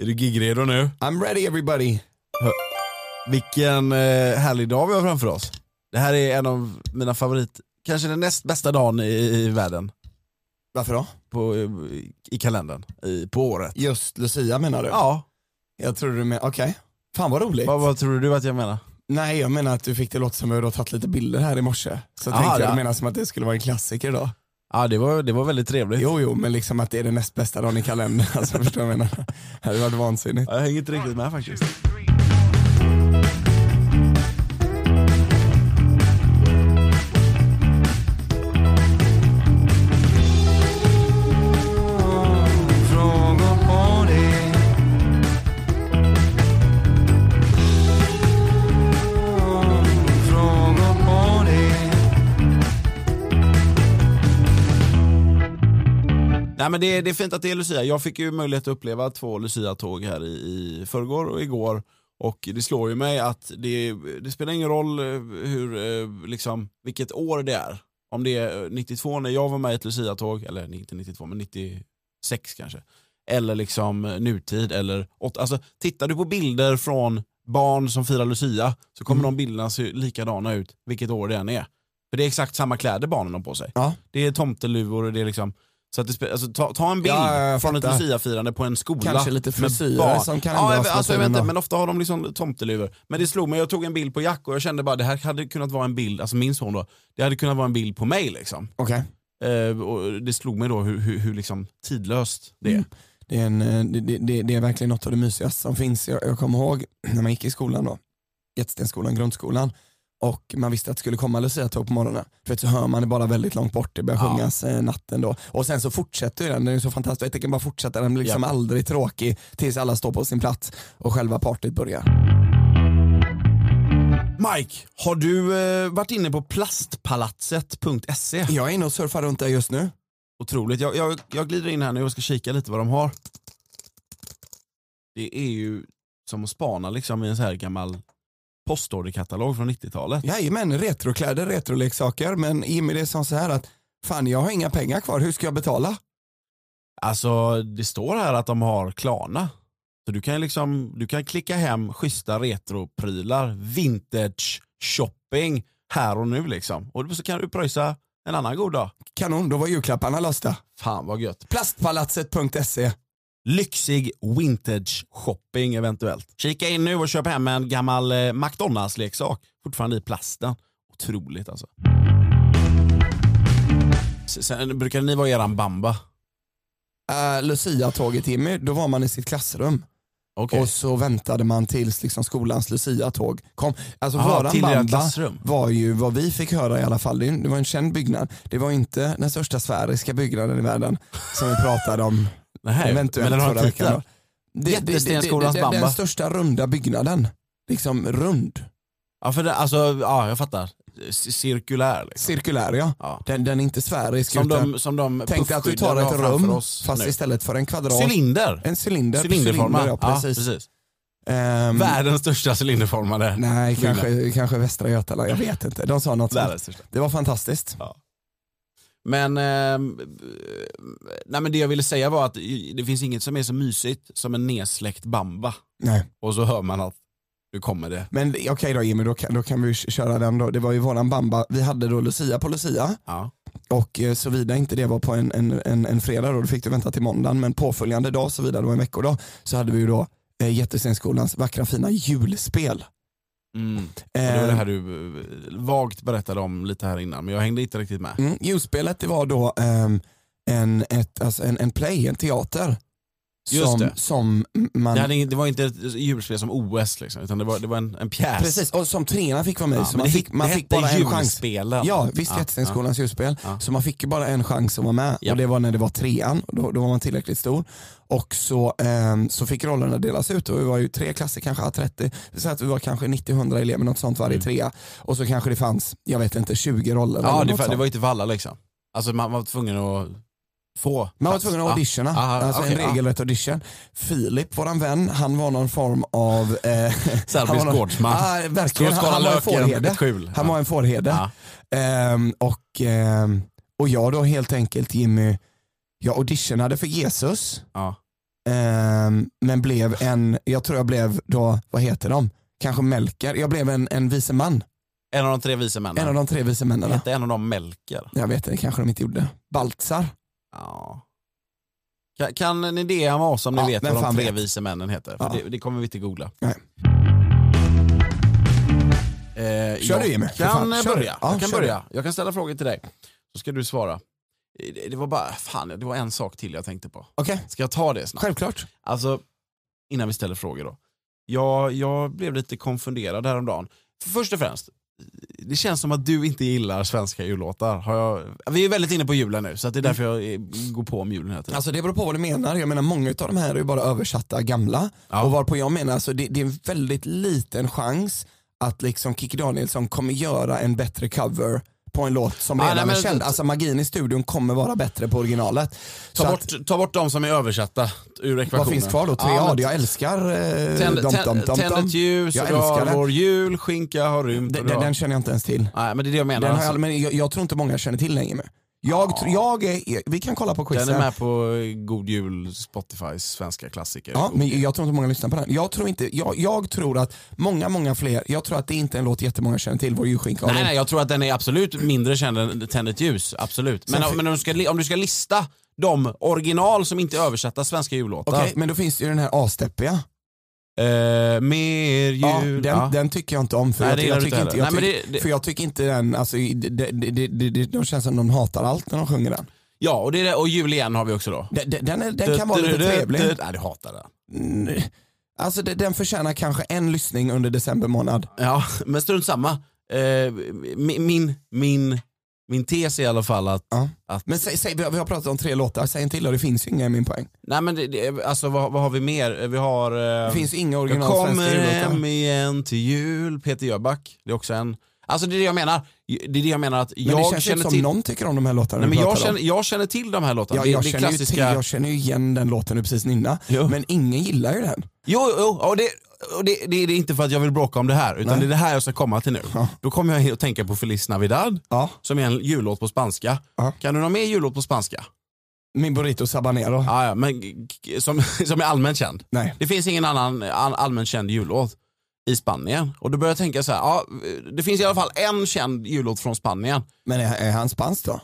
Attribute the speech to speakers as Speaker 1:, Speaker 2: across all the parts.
Speaker 1: Är du gigredo nu?
Speaker 2: I'm ready everybody.
Speaker 1: Vilken eh, härlig dag vi har framför oss. Det här är en av mina favorit, kanske den näst bästa dagen i, i världen
Speaker 2: Varför då?
Speaker 1: på, i, i kalendern, i, på året.
Speaker 2: Just Lucia menar du?
Speaker 1: Ja,
Speaker 2: Jag tror du menar, okej. Fan vad roligt.
Speaker 1: vad, vad tror du att jag menar?
Speaker 2: Nej jag menar att du fick det låta som att du har tagit lite bilder här i morse. Så
Speaker 1: Aha,
Speaker 2: tänkte
Speaker 1: Ah, ja.
Speaker 2: jag du menar som att det skulle vara en klassiker idag.
Speaker 1: Ja det var, det var väldigt trevligt.
Speaker 2: Jo jo men liksom att det är den näst bästa dagen i kalendern. Alltså förstår du vad jag menar? Det hade varit vansinnigt.
Speaker 1: Jag hänger inte riktigt med faktiskt. Nej men det, det är fint att det är Lucia. Jag fick ju möjlighet att uppleva två Lucia-tåg här i, i förrgår och igår. Och det slår ju mig att det, det spelar ingen roll eh, hur, eh, liksom, vilket år det är. Om det är eh, 92 när jag var med i ett Lucia-tåg, eller inte 92 men 96 kanske. Eller liksom eh, nutid eller åt, alltså, Tittar du på bilder från barn som firar Lucia så kommer de
Speaker 2: Mm.
Speaker 1: bilderna se likadana ut vilket år det än är. För det är exakt samma kläder barnen har på sig.
Speaker 2: Ja.
Speaker 1: Det är tomteluvor och det är liksom så att det spe- alltså, ta, ta en bild
Speaker 2: Ja, ja, jag
Speaker 1: från ett
Speaker 2: fattar.
Speaker 1: luciafirande på en skola.
Speaker 2: Kanske lite
Speaker 1: med
Speaker 2: frisyrer
Speaker 1: barn.
Speaker 2: som kan ändå
Speaker 1: ja, jag,
Speaker 2: ha
Speaker 1: vet- alltså, jag vet
Speaker 2: frisyren
Speaker 1: inte,
Speaker 2: då.
Speaker 1: men ofta har de liksom tomteluvor. Men det slog mig, jag tog en bild på Jack och jag kände bara det här hade kunnat vara en bild, alltså min son då, det hade kunnat vara en bild på mig liksom.
Speaker 2: Okej.
Speaker 1: Eh, och det slog mig då hur, hur, hur liksom tidlöst det är.
Speaker 2: Mm. Det är, en, eh, det, det- det, det är verkligen något av det mysigaste som finns. Jag, jag kommer ihåg när man gick i skolan då, Getstenskolan, grundskolan och man visste att det skulle komma luciatåg på morgonen. För att så hör man det bara väldigt långt bort, det börjar
Speaker 1: Ja.
Speaker 2: sjungas eh, natten då. Och sen så fortsätter ju den, den är så fantastisk. Jag tänker bara fortsätta, den blir liksom
Speaker 1: Japp.
Speaker 2: aldrig tråkig tills alla står på sin plats och själva partyt börjar.
Speaker 1: Mike, har du eh, varit inne på plastpalatset.se?
Speaker 2: Jag är inne och surfar runt där just nu.
Speaker 1: Otroligt, jag, jag, jag glider in här nu och ska kika lite vad de har. Det är ju som att spana liksom i en så här gammal postorderkatalog från 90-talet.
Speaker 2: Jajamän, retrokläder, retroleksaker. Men Jimmy det är som så här att fan jag har inga pengar kvar, hur ska jag betala?
Speaker 1: Alltså det står här att de har Klarna. Så du kan ju liksom, du kan klicka hem schyssta retroprylar, vintage shopping här och nu liksom. Och så kan du pröjsa en annan god dag.
Speaker 2: Kanon, då var julklapparna lösta.
Speaker 1: Fan vad gött.
Speaker 2: Plastpalatset.se
Speaker 1: Lyxig vintage shopping eventuellt. Kika in nu och köp hem en gammal eh, McDonalds-leksak. Fortfarande i plasten. Otroligt alltså. S- Sen brukar ni vara eran bamba.
Speaker 2: uh, Lucia-tåget Jimmy, då var man i sitt klassrum
Speaker 1: Okej.
Speaker 2: och så väntade man tills liksom skolans Lucia-tåg kom. Alltså
Speaker 1: Aha,
Speaker 2: våran
Speaker 1: till era
Speaker 2: bamba
Speaker 1: klassrum.
Speaker 2: var ju vad vi fick höra i alla fall, det är ju- det var en känd byggnad. Det var inte den största sfäriska byggnaden i världen som vi pratade om
Speaker 1: Nej, men
Speaker 2: eventuellt
Speaker 1: den har
Speaker 2: förra
Speaker 1: en titel.
Speaker 2: veckan. då. Det- det- det- det-
Speaker 1: Jättestenskolans
Speaker 2: det- det- Den
Speaker 1: bamba.
Speaker 2: största runda byggnaden, liksom rund,
Speaker 1: Ja, för det, alltså, ja, jag fattar. C- cirkulär. Liksom.
Speaker 2: cirkulär ja.
Speaker 1: Ja.
Speaker 2: Den, den är inte sfärisk
Speaker 1: Som
Speaker 2: utan
Speaker 1: de, som de
Speaker 2: tänk dig att du
Speaker 1: puffskydden
Speaker 2: tar
Speaker 1: vi har
Speaker 2: ett
Speaker 1: framför
Speaker 2: rum
Speaker 1: oss
Speaker 2: fast
Speaker 1: nu.
Speaker 2: istället för en kvadrat.
Speaker 1: Cylinder.
Speaker 2: En cylinder.
Speaker 1: Cylinderformad.
Speaker 2: cylinder, ja, precis.
Speaker 1: Ja, precis.
Speaker 2: Ehm,
Speaker 1: Världens största cylinderformade.
Speaker 2: Nej,
Speaker 1: Byggnad.
Speaker 2: kanske, kanske Västra Götaland. Jag vet inte. De sa något sånt.
Speaker 1: Världens största.
Speaker 2: Det var fantastiskt.
Speaker 1: Men, ehm, nej, men det jag ville säga var att det finns inget som är så mysigt som en nedsläckt bamba.
Speaker 2: Nej.
Speaker 1: Och så hör man att nu kommer det.
Speaker 2: Men okej då Jimmy, då kan, då kan vi ju köra den då. Det var ju våran bamba. Vi hade då Lucia på Lucia
Speaker 1: Ja.
Speaker 2: och eh, såvida inte det var på en, en, en, en fredag då, då fick du vänta till måndagen. Men påföljande dag, såvida det var en veckodag, så hade vi ju då eh, Jättestenskolans vackra fina julspel.
Speaker 1: Mm. Och det var det
Speaker 2: Eh,
Speaker 1: här du eh, vagt berättade om lite här innan, men jag hängde inte riktigt med.
Speaker 2: mm, julspelet det var då ehm, en, ett, alltså en, en play, en teater.
Speaker 1: Just
Speaker 2: Som,
Speaker 1: det.
Speaker 2: som man
Speaker 1: Det, hade, ing- det var inte ett julspel som OS, liksom, utan det var, det var en, en pjäs.
Speaker 2: Precis, och som trearna fick vara med
Speaker 1: Ja,
Speaker 2: så
Speaker 1: men
Speaker 2: man
Speaker 1: det
Speaker 2: fick,
Speaker 1: hette-
Speaker 2: man
Speaker 1: det
Speaker 2: fick
Speaker 1: hette
Speaker 2: bara en chans.
Speaker 1: julspelen.
Speaker 2: Ja, visst
Speaker 1: Ja,
Speaker 2: Jättestenskolans julspel.
Speaker 1: Ja.
Speaker 2: Så man fick ju bara en chans att vara med
Speaker 1: Ja.
Speaker 2: och det var när det var trean, då, då var man tillräckligt stor. Och så, ehm, så fick rollerna delas ut och vi var ju tre klasser, kanske ja, 30, så att vi var kanske 90-100 elever, något sånt varje trea. Och så kanske det fanns, jag vet inte, 20 roller
Speaker 1: Mm. Ja,
Speaker 2: eller
Speaker 1: det,
Speaker 2: något
Speaker 1: fa- det
Speaker 2: sånt.
Speaker 1: var inte för alla liksom. Alltså man var tvungen att få
Speaker 2: Man var
Speaker 1: plats.
Speaker 2: tvungen att
Speaker 1: Ja.
Speaker 2: auditiona,
Speaker 1: Aha,
Speaker 2: alltså
Speaker 1: okej,
Speaker 2: en regelrätt audition. Filip, våran vän, han var någon form av... Eh, han var
Speaker 1: Serbisk
Speaker 2: någon-
Speaker 1: gårdsman.
Speaker 2: Ja, verkligen, han, han var en fårherde. Han var en fårherde.
Speaker 1: Ja.
Speaker 2: Ehm, och, ehm, och jag då helt enkelt Jimmy, jag auditionade för Jesus
Speaker 1: Ja.
Speaker 2: Ehm, men blev en, jag tror jag blev då, vad heter de? Kanske Melker. Jag blev en, en vice man.
Speaker 1: En av de tre vise männen.
Speaker 2: En av de tre vice männen.
Speaker 1: Hette en av dem Melker?
Speaker 2: Jag vet inte, kanske de inte gjorde. Baltzar.
Speaker 1: Ja. Kan, kan ni DMa oss om ni
Speaker 2: Ja,
Speaker 1: vet
Speaker 2: vem
Speaker 1: vad de
Speaker 2: fan
Speaker 1: tre
Speaker 2: vet?
Speaker 1: vise männen heter? För
Speaker 2: Ja.
Speaker 1: det, det kommer vi inte googla.
Speaker 2: Nej.
Speaker 1: Eh,
Speaker 2: Kör
Speaker 1: jag
Speaker 2: du, Jimmy. För
Speaker 1: Kan
Speaker 2: fan,
Speaker 1: eh,
Speaker 2: kör du.
Speaker 1: börja.
Speaker 2: Ja,
Speaker 1: jag kan
Speaker 2: kör
Speaker 1: börja. Jag kan ställa frågor till dig. Så ska du svara. Eh, Det, det var bara, fan det var en sak till jag tänkte på.
Speaker 2: Okej,
Speaker 1: Ska jag ta det snabbt?
Speaker 2: självklart.
Speaker 1: Alltså, innan vi ställer frågor då. Jag, jag blev lite konfunderad häromdagen. För först och främst, det känns som att du inte gillar svenska jullåtar. Har jag... Vi är väldigt inne på julen nu, så att det är därför jag eh, går på om julen hela tiden.
Speaker 2: Alltså det beror på vad du menar. Jag menar många av de här är ju bara översatta gamla.
Speaker 1: Ja.
Speaker 2: Och varpå jag menar, alltså, det, det är en väldigt liten chans att liksom Kikki Danielsson kommer göra en bättre cover på en låt som
Speaker 1: Ah,
Speaker 2: redan
Speaker 1: nej, men-
Speaker 2: är känd. Alltså magin i studion kommer vara bättre på originalet. Så
Speaker 1: ta,
Speaker 2: att,
Speaker 1: bort, ta bort de som är översatta ur ekvationen.
Speaker 2: vad finns kvar då? Tre
Speaker 1: Ja, men
Speaker 2: A? Jag älskar eh,
Speaker 1: Tänd,
Speaker 2: dom,
Speaker 1: tänd,
Speaker 2: dom, dom,
Speaker 1: tänd
Speaker 2: dom.
Speaker 1: ett ljus,
Speaker 2: Jag
Speaker 1: och du har
Speaker 2: älskar det.
Speaker 1: vår jul, skinka har rymt. och
Speaker 2: Den,
Speaker 1: du
Speaker 2: den,
Speaker 1: har-
Speaker 2: den känner jag inte ens till.
Speaker 1: Nej, men det är det jag menar.
Speaker 2: Den har
Speaker 1: alltså.
Speaker 2: jag, men jag, jag tror inte många känner till längre. Med. Jag, tr- jag är, vi kan kolla på
Speaker 1: Den
Speaker 2: quizen.
Speaker 1: är med på eh, God Jul, Spotifys svenska klassiker.
Speaker 2: Ja, men jag tror inte många lyssnar på den. Jag tror, inte, jag, jag tror att många, många fler, jag tror att det inte är en låt jättemånga känner till, Vår julskinka
Speaker 1: Nej, nej, jag tror att den är absolut mindre känd än Tänd ett ljus. Absolut. Men,
Speaker 2: Sen fi-
Speaker 1: men om, du ska, li- om du ska lista de original som inte är översatta svenska jullåtar.
Speaker 2: Okej, men då finns det ju den här asdeppiga.
Speaker 1: Eh, mer jul.
Speaker 2: Ja, den, den tycker jag inte om för,
Speaker 1: Nej,
Speaker 2: jag,
Speaker 1: det
Speaker 2: ty-
Speaker 1: gillar
Speaker 2: jag,
Speaker 1: du inte
Speaker 2: tycker inte, jag,
Speaker 1: heller. Nej,
Speaker 2: tycker-
Speaker 1: men det- det-
Speaker 2: för jag tycker inte den, alltså, i- det, det, det, det, det, de känns som de hatar allt när de sjunger den.
Speaker 1: ja och, det är, det- och jul igen har vi också då.
Speaker 2: Den, den, den, är, den kan vara lite
Speaker 1: Du- du- du-
Speaker 2: trevlig.
Speaker 1: du- Nej, du hatar den.
Speaker 2: Mm. Alltså det- den förtjänar kanske en lyssning under december månad.
Speaker 1: Ja, men strunt samma. Eh, min, min, min, min tes är i alla fall att...
Speaker 2: Ja.
Speaker 1: att
Speaker 2: Men säg, säg, vi har- vi har pratat om tre låtar, säg en till och det finns ju inga i min poäng.
Speaker 1: nej men det, det, alltså vad, vad har vi mer? Vi har...
Speaker 2: Det
Speaker 1: Eh,
Speaker 2: finns ju inga
Speaker 1: jag
Speaker 2: original
Speaker 1: kommer
Speaker 2: svenska
Speaker 1: hem
Speaker 2: jullåtar.
Speaker 1: igen till jul, Peter Jöback. Det är också en... Alltså det är det jag menar. Det är det jag menar att
Speaker 2: Men det
Speaker 1: jag
Speaker 2: känns ju inte
Speaker 1: känner
Speaker 2: som
Speaker 1: till...
Speaker 2: någon tycker om de här låtarna
Speaker 1: Nej,
Speaker 2: vi
Speaker 1: men jag,
Speaker 2: pratar om.
Speaker 1: känner, jag känner till de här låtarna.
Speaker 2: Ja,
Speaker 1: det,
Speaker 2: jag,
Speaker 1: det är
Speaker 2: känner ju till,
Speaker 1: klassiska...
Speaker 2: jag känner ju igen den låten nu precis innan.
Speaker 1: Jo.
Speaker 2: Men ingen gillar ju den.
Speaker 1: Jo, jo och, det, och det, det är det inte för att jag vill bråka om det här, utan
Speaker 2: Nej.
Speaker 1: det är det här jag ska komma till nu.
Speaker 2: Ja.
Speaker 1: Då kommer jag att tänka på Feliz Navidad,
Speaker 2: Ja.
Speaker 1: som är en jullåt på spanska.
Speaker 2: Ja.
Speaker 1: Kan du ha med jullåt på spanska?
Speaker 2: Min burrito sabanero.
Speaker 1: Ja, ja, men g- g- som, som är allmänt känd.
Speaker 2: Nej.
Speaker 1: Det finns ingen annan all, allmänt känd jullåt i Spanien. Och då börjar jag tänka så här, ja, det finns i alla fall en känd jullåt från Spanien.
Speaker 2: Men är, är han spansk då?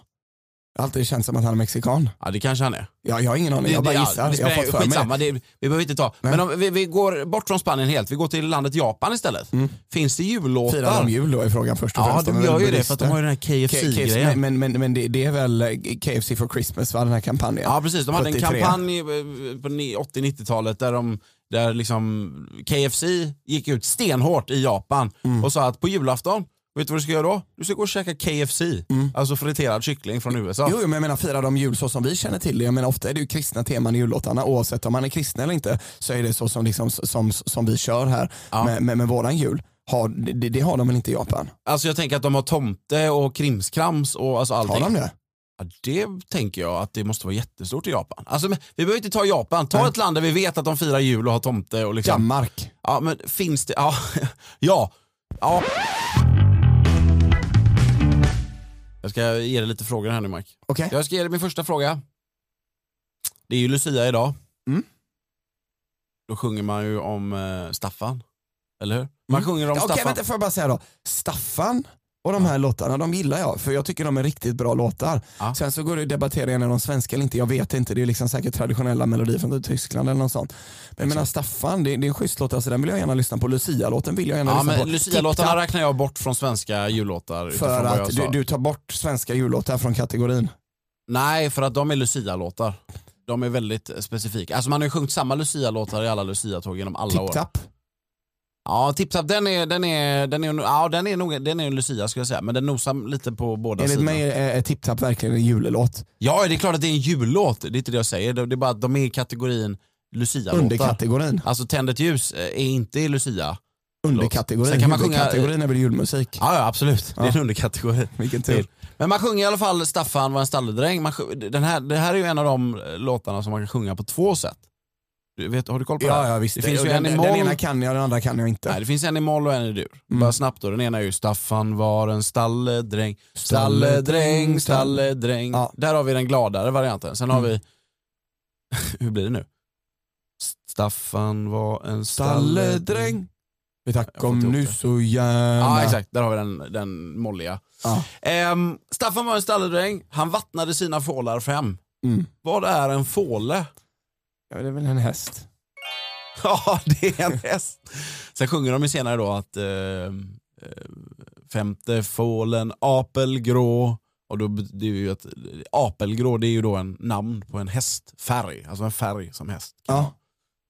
Speaker 2: Jag har alltid känt som att han är mexikan.
Speaker 1: Ja, det kanske han är.
Speaker 2: Ja, jag har ingen aning, jag bara
Speaker 1: det,
Speaker 2: gissar.
Speaker 1: Ja, det
Speaker 2: jag har
Speaker 1: spelar,
Speaker 2: fått för mig det.
Speaker 1: skitsamma, det, vi behöver inte ta. Men om vi, vi går bort från Spanien helt, vi går till landet Japan istället.
Speaker 2: Mm.
Speaker 1: Finns det jullåtar?
Speaker 2: Firar de jul då är frågan först och
Speaker 1: Ja,
Speaker 2: främst.
Speaker 1: de
Speaker 2: är väl
Speaker 1: gör ju det för att de har ju den här
Speaker 2: K- KFC, men
Speaker 1: KFC-grejen.
Speaker 2: men, men, men det, det är väl eh, KFC for Christmas va, den här kampanjen?
Speaker 1: Ja precis, de hade
Speaker 2: 73.
Speaker 1: en kampanj eh, på ni- 80-90-talet där, de, där liksom KFC gick ut stenhårt i Japan
Speaker 2: Mm.
Speaker 1: och sa att på julafton, vet du vad du ska göra då? Du ska gå och käka KFC, alltså friterad kyckling från USA.
Speaker 2: Mm. Jo, jo, men jag menar firar de jul så som vi känner till det. Jag menar ofta är det ju kristna teman i jullåtarna oavsett om man är kristen eller inte så är det så som, liksom, som, som vi kör här med, med, med våran jul. Har, det, det har de väl inte i Japan?
Speaker 1: Alltså jag tänker att de har tomte och krimskrams och alltså allting.
Speaker 2: Har de det?
Speaker 1: Ja, det tänker jag att det måste vara jättestort i Japan. Alltså, men, vi behöver inte ta Japan, ta ett land där vi vet att de firar jul och har tomte och liksom.
Speaker 2: Danmark.
Speaker 1: Ja men finns det, ja. ja. ja. Jag ska ge dig lite frågor här nu Mike.
Speaker 2: Okej.
Speaker 1: Jag ska ge dig min första fråga. Det är ju Lucia idag.
Speaker 2: Mm.
Speaker 1: Då sjunger man ju om eh, Staffan. Eller hur? Man sjunger om
Speaker 2: Okej,
Speaker 1: Staffan.
Speaker 2: vänta får jag bara säga då. Staffan och de här låtarna, de gillar jag för jag tycker de är riktigt bra låtar.
Speaker 1: Ja.
Speaker 2: Sen så går det att debattera igen om de är svenska eller inte, jag vet inte. Det är liksom säkert traditionella melodier från typ Tyskland eller något sånt. Men jag menar Staffan, det, det är en schysst låt, alltså, den vill jag gärna lyssna på. Lucia-låten vill jag gärna
Speaker 1: Ja
Speaker 2: lyssna
Speaker 1: men
Speaker 2: på.
Speaker 1: Lucia-låtarna
Speaker 2: Titta
Speaker 1: räknar jag bort från svenska jullåtar. utifrån
Speaker 2: För
Speaker 1: vad jag
Speaker 2: att
Speaker 1: sa.
Speaker 2: du, du tar bort svenska jullåtar från kategorin.
Speaker 1: Nej, för att de är Lucia-låtar. De är väldigt eh, specifika. Alltså man har ju sjungit samma Lucia-låtar i alla Lucia-tåg genom alla år.
Speaker 2: Tipp-tapp.
Speaker 1: Ja, Tipsap den är, den är, den är, ja, den är, nog, den är en Lucia skulle jag säga, men den nosar lite på båda
Speaker 2: Enligt
Speaker 1: sidorna.
Speaker 2: mig är är Tipp-tapp verkligen en jullåt.
Speaker 1: Ja, det är klart att det är en jullåt, det är inte det jag säger. Det det är bara att de är i kategorin
Speaker 2: Under
Speaker 1: Lucia-låtar.
Speaker 2: kategorin.
Speaker 1: Alltså Tänd ett ljus eh, är inte i Lucia.
Speaker 2: Under
Speaker 1: Sen
Speaker 2: kategorin.
Speaker 1: kan man sjunga-
Speaker 2: Huvudkategorin är väl julmusik.
Speaker 1: Ja, ja absolut. Det är
Speaker 2: Ja.
Speaker 1: en underkategori.
Speaker 2: Vilken tur.
Speaker 1: Men man sjunger i alla fall Staffan var en stalledräng. Man sjung- den här, det här är ju en av de eh, låtarna som man kan sjunga på två sätt. Du vet, har du koll på det här?
Speaker 2: Ja, ja visst.
Speaker 1: Det finns
Speaker 2: Och
Speaker 1: ju en
Speaker 2: den,
Speaker 1: i
Speaker 2: den
Speaker 1: moll.
Speaker 2: ena kan jag, den andra kan jag inte.
Speaker 1: Nej, det finns en i moll och en i dur. Bara snabbt då, den ena är ju Staffan var en stalledräng, stalledräng, stalledräng.
Speaker 2: Ja.
Speaker 1: Där har vi den gladare varianten. Sen har vi, hur blir det nu? Staffan var en
Speaker 2: Stalledräng. Vi
Speaker 1: Jag
Speaker 2: tackar
Speaker 1: får
Speaker 2: om
Speaker 1: inte ihop
Speaker 2: nu
Speaker 1: det.
Speaker 2: så gärna.
Speaker 1: Ja exakt, där har vi den, den molliga.
Speaker 2: Ja.
Speaker 1: Ehm, Staffan var en stalledräng, han vattnade sina fålar fem.
Speaker 2: Mm.
Speaker 1: Vad är en fåle?
Speaker 2: Ja, det är väl en häst.
Speaker 1: Ja, det är en häst. Sen sjunger de ju senare då att eh, eh, femte fålen apelgrå. Och då bet- det är ju att apelgrå det är ju då en namn på en hästfärg. Alltså en färg som häst. kan
Speaker 2: Ja,
Speaker 1: ha.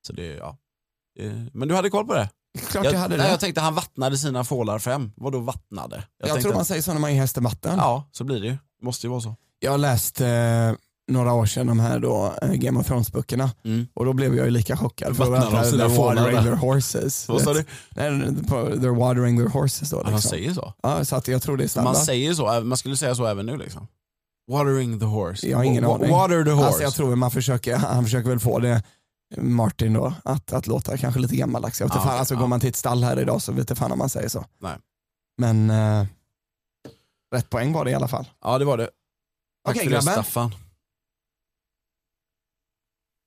Speaker 1: Så det, är- ja. Eh, Men du hade koll på det?
Speaker 2: klart jag, hade det.
Speaker 1: Nej,
Speaker 2: Jag,
Speaker 1: jag tänkte han vattnade sina fålar fem. Vadå vattnade? Jag, tänkte
Speaker 2: tror man
Speaker 1: att-
Speaker 2: säger så när man ger hästen vatten.
Speaker 1: Ja, så blir det ju. Måste ju vara så.
Speaker 2: Jag läste eh, några år sedan de här då, eh, Game of Thrones-böckerna
Speaker 1: Mm.
Speaker 2: och då blev jag ju lika chockad. För
Speaker 1: Vattnar
Speaker 2: då
Speaker 1: de
Speaker 2: var det
Speaker 1: sina
Speaker 2: "They're
Speaker 1: fålar
Speaker 2: watering
Speaker 1: där?"
Speaker 2: their horses.
Speaker 1: Vad sa
Speaker 2: Vet- Nej, på- they're watering their horses då.
Speaker 1: Ja,
Speaker 2: Liksom.
Speaker 1: de säger så.
Speaker 2: ja, så att jag tror det är
Speaker 1: Man
Speaker 2: standard.
Speaker 1: säger så. Man skulle säga så även nu liksom. Watering the horse.
Speaker 2: Jag har ingen
Speaker 1: Wa- wa-
Speaker 2: aning.
Speaker 1: Water the horse.
Speaker 2: Alltså jag tror man försöker, han försöker väl få det, Martin då, att, att låta kanske lite gammaldags. Jag vet inte
Speaker 1: Ja,
Speaker 2: fan, alltså
Speaker 1: ja.
Speaker 2: går man till ett stall här idag så vet inte fan om man säger så.
Speaker 1: Nej.
Speaker 2: Men eh, rätt poäng var det i alla fall.
Speaker 1: Ja det var det. Tack
Speaker 2: Okej
Speaker 1: för det
Speaker 2: grabbar,
Speaker 1: Staffan.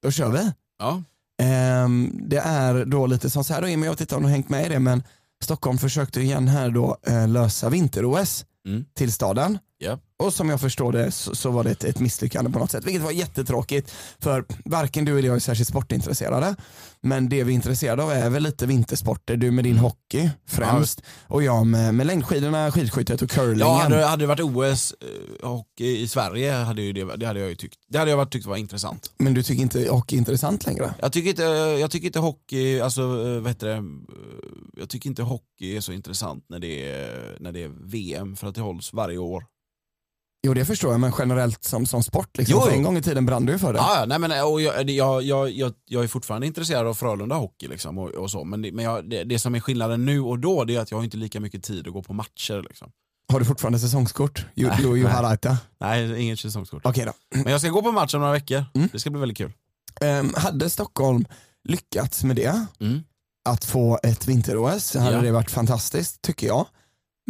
Speaker 2: då kör vi.
Speaker 1: Ja.
Speaker 2: Ehm, det är då lite som så här då, Jimmy, jag vet inte om du har hängt med i det, men Stockholm försökte igen här då eh, lösa vinter-OS
Speaker 1: Mm.
Speaker 2: till staden.
Speaker 1: Ja.
Speaker 2: Och som jag förstår det så, så var det ett, ett misslyckande på något sätt, vilket var jättetråkigt. För varken du eller jag är särskilt sportintresserade. Men det vi är intresserade av är väl lite vintersporter. Du med din
Speaker 1: Mm.
Speaker 2: hockey främst och jag med, med längdskidorna, skidskyttet och curlingen.
Speaker 1: Ja, hade, hade det varit OS eh, och i Sverige hade, ju det, det hade jag ju tyckt, det hade jag varit, tyckt var intressant.
Speaker 2: Men du tycker inte hockey är intressant längre?
Speaker 1: Jag tycker inte, jag tycker inte hockey, alltså eh, vad heter det, eh, jag tycker inte hockey är så intressant när det är, när det är VM för att det hålls varje år.
Speaker 2: Jo det förstår jag, men generellt som, som sport. Liksom.
Speaker 1: Jo,
Speaker 2: För
Speaker 1: jo.
Speaker 2: en gång i tiden brann du för det.
Speaker 1: Ja, ja, nej, men, eh, och jag, det- jag, jag, jag, jag är fortfarande intresserad av Frölunda hockey liksom, och, och så, men, det, men jag, det, det som är skillnaden nu och då det är att jag har inte lika mycket tid att gå på matcher. Liksom.
Speaker 2: Har du fortfarande säsongskort? Jo,
Speaker 1: Nej,
Speaker 2: jo, jo
Speaker 1: nej.
Speaker 2: Harajta.
Speaker 1: Nej, inget säsongskort.
Speaker 2: Okej då.
Speaker 1: Men jag ska gå på match om några veckor.
Speaker 2: Mm.
Speaker 1: Det ska bli väldigt kul.
Speaker 2: Ehm, hade Stockholm lyckats med det,
Speaker 1: Mm.
Speaker 2: att få ett vinter-OS, hade
Speaker 1: Ja.
Speaker 2: det varit fantastiskt tycker jag.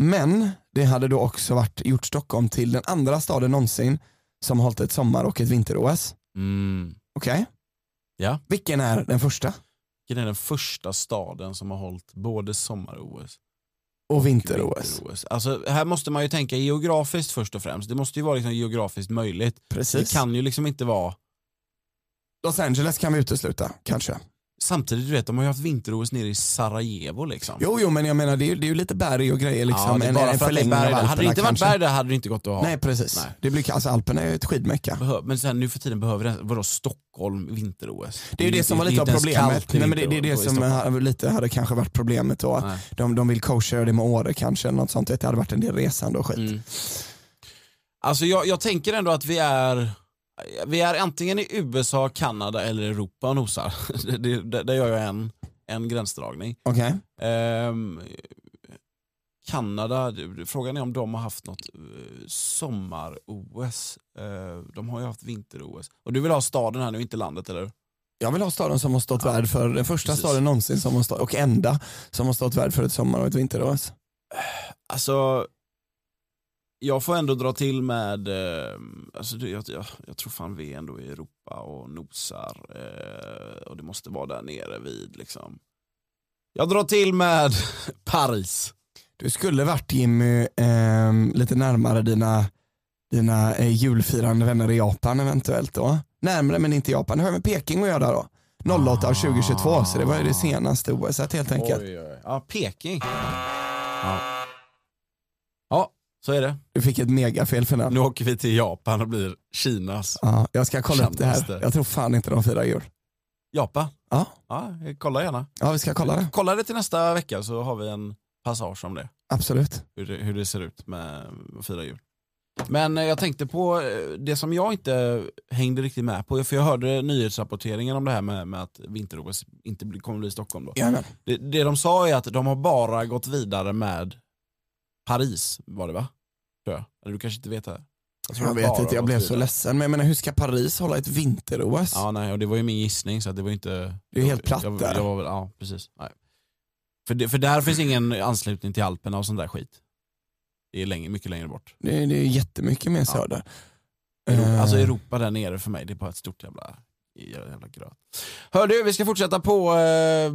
Speaker 2: Men det hade då också varit, gjort Stockholm till den andra staden någonsin som hållit ett sommar och ett vinter-OS.
Speaker 1: Mm.
Speaker 2: Okej?
Speaker 1: Ja.
Speaker 2: Vilken är den första?
Speaker 1: Vilken är den första staden som har hållit både sommar-OS
Speaker 2: Och
Speaker 1: och
Speaker 2: vinter-OS.
Speaker 1: vinter-OS? Alltså, här måste man ju tänka geografiskt först och främst. Det måste ju vara liksom geografiskt möjligt.
Speaker 2: Precis.
Speaker 1: Det kan ju liksom inte vara...
Speaker 2: Los Angeles kan vi utesluta kanske.
Speaker 1: Samtidigt, du vet, de har ju haft vinter-OS nere i Sarajevo liksom.
Speaker 2: Jo, jo men jag menar det är ju, det är ju lite berg och grejer liksom.
Speaker 1: det är
Speaker 2: En-
Speaker 1: bara för
Speaker 2: en
Speaker 1: att det är
Speaker 2: förlängning av
Speaker 1: berg. där. Hade det
Speaker 2: Alperna
Speaker 1: inte varit
Speaker 2: kanske.
Speaker 1: berg där hade det inte gått att ha.
Speaker 2: Nej precis.
Speaker 1: Nej.
Speaker 2: Det blir, alltså, Alperna är ju ett skidmecka.
Speaker 1: Behö- Men sen, nu för tiden behöver det, vadå Stockholm vinter-OS?
Speaker 2: Det är ju det
Speaker 1: inte-
Speaker 2: som var lite av
Speaker 1: inte ens
Speaker 2: problemet.
Speaker 1: kallt i
Speaker 2: Nej, men det, det är det
Speaker 1: vinter-OS i
Speaker 2: som
Speaker 1: Stockholm.
Speaker 2: hade- lite hade kanske varit problemet då. Att
Speaker 1: Nej.
Speaker 2: de, de vill coacha det med Åre kanske, eller något sånt. Det hade varit en del resande och skit.
Speaker 1: Mm. Alltså jag, jag tänker ändå att vi är vi är antingen i USA, Kanada eller Europa och nosar. Det- det- Där där gör jag en, en gränsdragning.
Speaker 2: Okej,
Speaker 1: Ehm, Kanada, det- frågan är om de har haft något eh, sommar-OS. Eh, de har ju haft vinter-OS. Och du vill ha staden här nu, inte landet eller hur?
Speaker 2: jag vill ha staden som har stått värd för den första
Speaker 1: precis.
Speaker 2: staden någonsin som har stått, och enda som har stått värd för ett sommar och ett vinter-OS.
Speaker 1: Alltså, jag får ändå dra till med, eh, alltså, det- jag, jag, jag tror fan vi är ändå i Europa och nosar eh, och det måste vara där nere vid liksom. Jag drar till med Paris.
Speaker 2: Du skulle varit Jimmy ehm, lite närmare dina, dina eh, julfirande vänner i Japan eventuellt då. Närmare men inte Japan. Det har med Peking att göra då. 08 av 2022 så det var ju det senaste OS -et helt enkelt.
Speaker 1: Ah. Oj, oj. Ja, Peking. Ja. ja, så är det.
Speaker 2: Du fick ett megafel för den.
Speaker 1: Nu åker vi till Japan och blir Kinas.
Speaker 2: Ja, jag ska kolla upp det
Speaker 1: Kändes
Speaker 2: här.
Speaker 1: det?
Speaker 2: Jag tror fan inte de firar jul.
Speaker 1: Japan?
Speaker 2: Ja.
Speaker 1: ja, kolla gärna.
Speaker 2: Ja, vi ska kolla det.
Speaker 1: Kolla det till nästa vecka så har vi en passage om det.
Speaker 2: Absolut.
Speaker 1: hur det, hur det ser ut med att fira jul. Men eh, jag tänkte på eh, det som jag inte hängde riktigt med på, för jag hörde nyhetsrapporteringen om det här med, med att vinter-OS inte blir- kommer bli i Stockholm. Då.
Speaker 2: Jajamän.
Speaker 1: Det, det de sa är att de har bara gått vidare med Paris, var det va? Tror jag. Eller du kanske inte vet det här? tror
Speaker 2: Jag
Speaker 1: de
Speaker 2: vet
Speaker 1: bara
Speaker 2: inte, jag
Speaker 1: gått
Speaker 2: blev så
Speaker 1: vidare.
Speaker 2: ledsen. Men jag menar, hur ska Paris hålla ett vinter-OS?
Speaker 1: Ja, nej, och det var ju min gissning så att det var ju inte...
Speaker 2: Det är helt platt
Speaker 1: jag, jag,
Speaker 2: där.
Speaker 1: jag var väl, Ja, precis. Nej. För, det, för där finns ingen anslutning till Alperna och sån där skit. Det är länge, mycket längre bort.
Speaker 2: Det, det är jättemycket mer söder.
Speaker 1: Europa, alltså
Speaker 2: Eh,
Speaker 1: Europa där nere för mig, det är bara ett stort jävla Jävla gröt. Hör du, vi ska fortsätta på eh,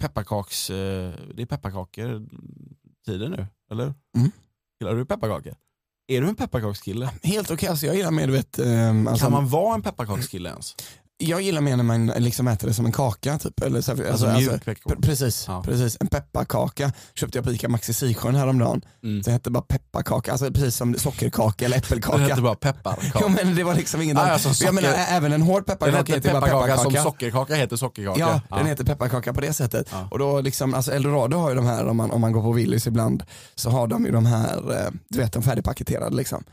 Speaker 1: pepparkaks... Eh, det är pepparkakor-tiden nu, eller?
Speaker 2: Mm.
Speaker 1: Gillar du pepparkakor? Är du en pepparkakskille?
Speaker 2: Helt okej, alltså, jag gillar mer du vet, ehm, alltså,
Speaker 1: Kan man vara en pepparkakskille ens?
Speaker 2: jag gillar mer när man liksom äter det som en kaka typ. Eller så, här-
Speaker 1: Alltså,
Speaker 2: alltså, alltså,
Speaker 1: mjuk
Speaker 2: pre-
Speaker 1: pepparkaka.
Speaker 2: precis,
Speaker 1: Ja.
Speaker 2: precis, en pepparkaka köpte jag på ICA Maxi Sisjön häromdagen.
Speaker 1: Mm.
Speaker 2: Det hette bara pepparkaka, alltså precis som sockerkaka eller
Speaker 1: Det hette
Speaker 2: äppelkaka.
Speaker 1: bara
Speaker 2: Jo,
Speaker 1: pepparkaka.
Speaker 2: men det var liksom ingen
Speaker 1: Ah, ja, som socker-
Speaker 2: Jag menar, ä- även en hård
Speaker 1: Den
Speaker 2: pepparkaka
Speaker 1: hette
Speaker 2: heter bara
Speaker 1: pepparkaka
Speaker 2: pepparkaka.
Speaker 1: som sockerkaka heter sockerkaka.
Speaker 2: Ja, den heter pepparkaka på det sättet.
Speaker 1: Ja.
Speaker 2: Och då liksom, alltså Eldorado har ju de här, om man, om man går på Willys ibland, så har de ju de här, eh, du vet de färdigpaketerade liksom.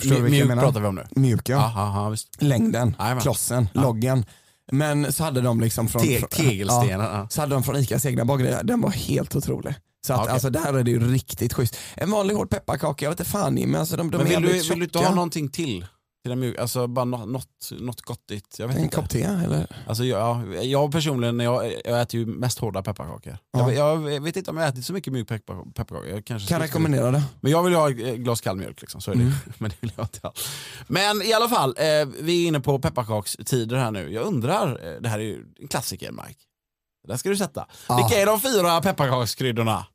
Speaker 2: Förstår du vilka jag
Speaker 1: Mjuk
Speaker 2: menar?
Speaker 1: pratar vi om nu.
Speaker 2: Mjuka,
Speaker 1: Aha, aha, visst.
Speaker 2: längden,
Speaker 1: Jajamän.
Speaker 2: klossen,
Speaker 1: Ja.
Speaker 2: loggen. Men så hade de liksom från...
Speaker 1: Te-
Speaker 2: från- Ja,
Speaker 1: Tegelstenar. ja.
Speaker 2: så hade de från ICAs egna bageri, den var helt otrolig. Så att,
Speaker 1: Okej.
Speaker 2: alltså, där är det ju riktigt schysst. En vanlig hård pepparkaka, jag vet inte fan Jimmy, alltså, de, de
Speaker 1: Men
Speaker 2: är
Speaker 1: vill du,
Speaker 2: jävligt
Speaker 1: vill du inte
Speaker 2: tjocka.
Speaker 1: ha någonting till? till den mjuk, alltså bara nå- något, något gottigt. Jag vet
Speaker 2: En
Speaker 1: inte.
Speaker 2: kopp te eller?
Speaker 1: Alltså jag, jag personligen, jag, jag äter ju mest hårda pepparkakor.
Speaker 2: Ja.
Speaker 1: Jag, jag vet inte om jag ätit så mycket mjuk peppar- pepparkakor. Jag kanske
Speaker 2: Kan
Speaker 1: skulle-
Speaker 2: rekommendera det.
Speaker 1: Men jag vill ju ha ett glas kall mjölk. Liksom, så är det.
Speaker 2: Mm.
Speaker 1: Men det vill jag inte ha. Men i alla fall, eh, vi är inne på pepparkakstider här nu. Jag undrar, eh, det här är ju en klassiker Mike. Det där ska du sätta.
Speaker 2: Ja.
Speaker 1: Vilka är de fyra pepparkakskryddorna?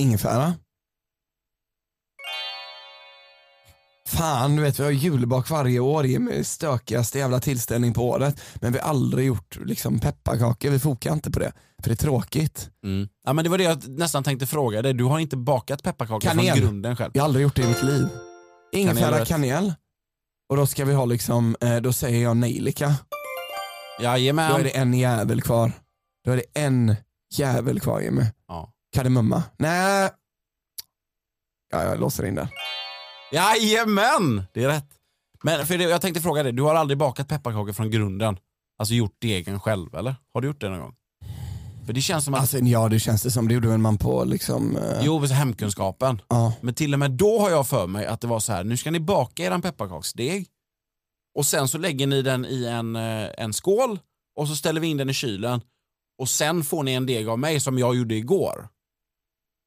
Speaker 2: Ingefära. Fan, du vet vi har julbak varje år i stökigaste jävla tillställning på året. Men vi har aldrig gjort liksom, pepparkakor, vi fokar inte på det. För det är tråkigt.
Speaker 1: Ja, men det var det jag nästan tänkte fråga dig. Du har inte bakat pepparkakor
Speaker 2: Kanel.
Speaker 1: från grunden själv?
Speaker 2: Jag har aldrig gjort det i mitt liv. Ingefära,
Speaker 1: Kanelröt.
Speaker 2: kanel. Och då ska vi ha liksom, eh, då säger jag nejlika.
Speaker 1: Jajamän.
Speaker 2: Då är det en jävel kvar. Då är det en jävel kvar Jimmy.
Speaker 1: Ja.
Speaker 2: Kardemumma. Nej. Ja, jag låser in den.
Speaker 1: Jajamän, det är rätt. Men för det, jag tänkte fråga dig, du har aldrig bakat pepparkakor från grunden? Alltså gjort degen själv eller? Har du gjort det någon gång? För det känns som att,
Speaker 2: Alltså, ja, det känns det som. Det gjorde väl man på liksom... eh,
Speaker 1: jo så hemkunskapen.
Speaker 2: Ja.
Speaker 1: Men till och med då har jag för mig att det var så här, nu ska ni baka eran pepparkaksdeg och sen så lägger ni den i en, eh, en skål och så ställer vi in den i kylen och sen får ni en deg av mig som jag gjorde igår.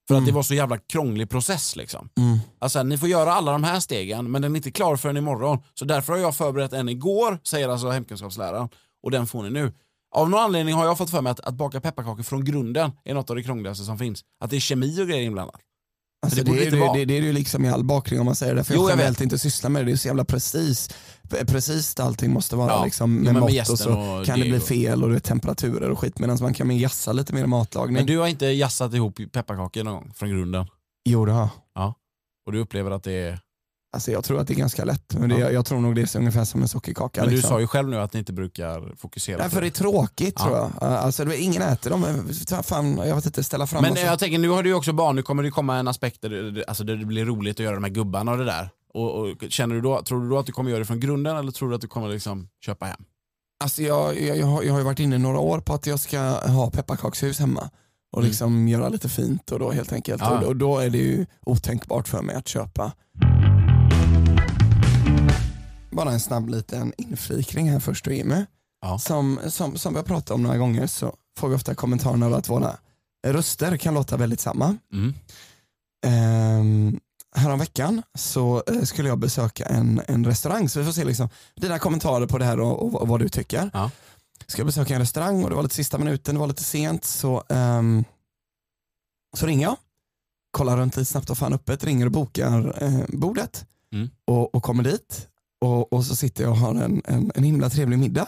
Speaker 1: För att
Speaker 2: Mm.
Speaker 1: det var så jävla krånglig process liksom.
Speaker 2: Mm.
Speaker 1: Alltså, ni får göra alla de här stegen men den är inte klar förrän imorgon. Så därför har jag förberett en igår, säger alltså hemkunskapsläraren. Och den får ni nu. Av någon anledning har jag fått för mig att, att baka pepparkakor från grunden är något av det krångligaste som finns. Att det är kemi och grejer inblandat.
Speaker 2: Alltså,
Speaker 1: det
Speaker 2: det,
Speaker 1: borde
Speaker 2: är
Speaker 1: inte
Speaker 2: ju-
Speaker 1: vara.
Speaker 2: det, det är ju liksom i all bakning om man säger det. För
Speaker 1: Jo,
Speaker 2: jag
Speaker 1: jag
Speaker 2: generellt inte sysslar med det. Det är så jävla precis. Precis allting måste vara
Speaker 1: Ja.
Speaker 2: liksom,
Speaker 1: Jo, men
Speaker 2: med
Speaker 1: med
Speaker 2: mått och
Speaker 1: jästen
Speaker 2: så
Speaker 1: och
Speaker 2: kan det
Speaker 1: deg
Speaker 2: bli
Speaker 1: och-
Speaker 2: fel och det är temperaturer och skit. Medan man kan med jassa lite mer i matlagning.
Speaker 1: Men du har inte jassat ihop pepparkakor någon gång från grunden?
Speaker 2: Jo det har jag.
Speaker 1: Och du upplever att det är...
Speaker 2: Alltså jag tror att det är ganska lätt. Men det,
Speaker 1: Ja.
Speaker 2: jag, jag tror nog det är så ungefär som en sockerkaka.
Speaker 1: Men du
Speaker 2: liksom.
Speaker 1: sa ju själv nu att ni inte brukar fokusera
Speaker 2: Nej,
Speaker 1: på
Speaker 2: för det är
Speaker 1: det.
Speaker 2: tråkigt
Speaker 1: Ja.
Speaker 2: tror jag. Alltså, det är ingen äter dem. Fan, jag vet inte, ställa fram
Speaker 1: Men
Speaker 2: och så.
Speaker 1: jag tänker, nu har du ju också barn, nu kommer det komma en aspekt där det, alltså, där det blir roligt att göra de här gubbarna och det där. Och, och, känner du då, tror du då att du kommer göra det från grunden eller tror du att du kommer liksom köpa hem?
Speaker 2: Alltså jag, jag, jag, har, jag har ju varit inne några år på att jag ska ha pepparkakshus hemma och
Speaker 1: Mm. Ah.
Speaker 2: liksom göra lite fint och då helt enkelt.
Speaker 1: Ja.
Speaker 2: Och, då- och då är det ju otänkbart för mig att köpa. Bara en snabb liten inflikning här först och Jimmy.
Speaker 1: Ja.
Speaker 2: Som, som, som vi har pratat om några gånger så får vi ofta kommentaren över att våra röster kan låta väldigt samma.
Speaker 1: Mm.
Speaker 2: Ehm, häromveckan så eh, skulle jag besöka en, en restaurang så vi får se liksom, dina kommentarer på det här och, och, vad- vad du tycker.
Speaker 1: Ja.
Speaker 2: Ska jag besöka en restaurang och det var lite sista minuten, det var lite sent så, ehm, så ringer jag, kollar runt lite snabbt och fan öppet, ringer och bokar eh, bordet
Speaker 1: Mm.
Speaker 2: och, och kommer dit och, och så sitter jag och har en, en, en himla trevlig middag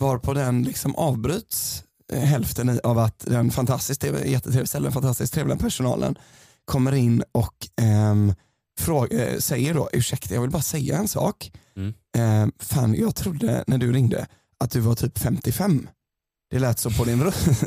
Speaker 2: varpå den liksom avbryts eh, hälften i, av att den fantastiskt jättetrevliga ställen, fantastiskt trevliga personalen kommer in och ehm, fråga, eh, säger då, ursäkta jag vill bara säga en sak.
Speaker 1: Mm.
Speaker 2: Ehm, fan jag trodde när du ringde att du var typ 55. Det lät så på din röst.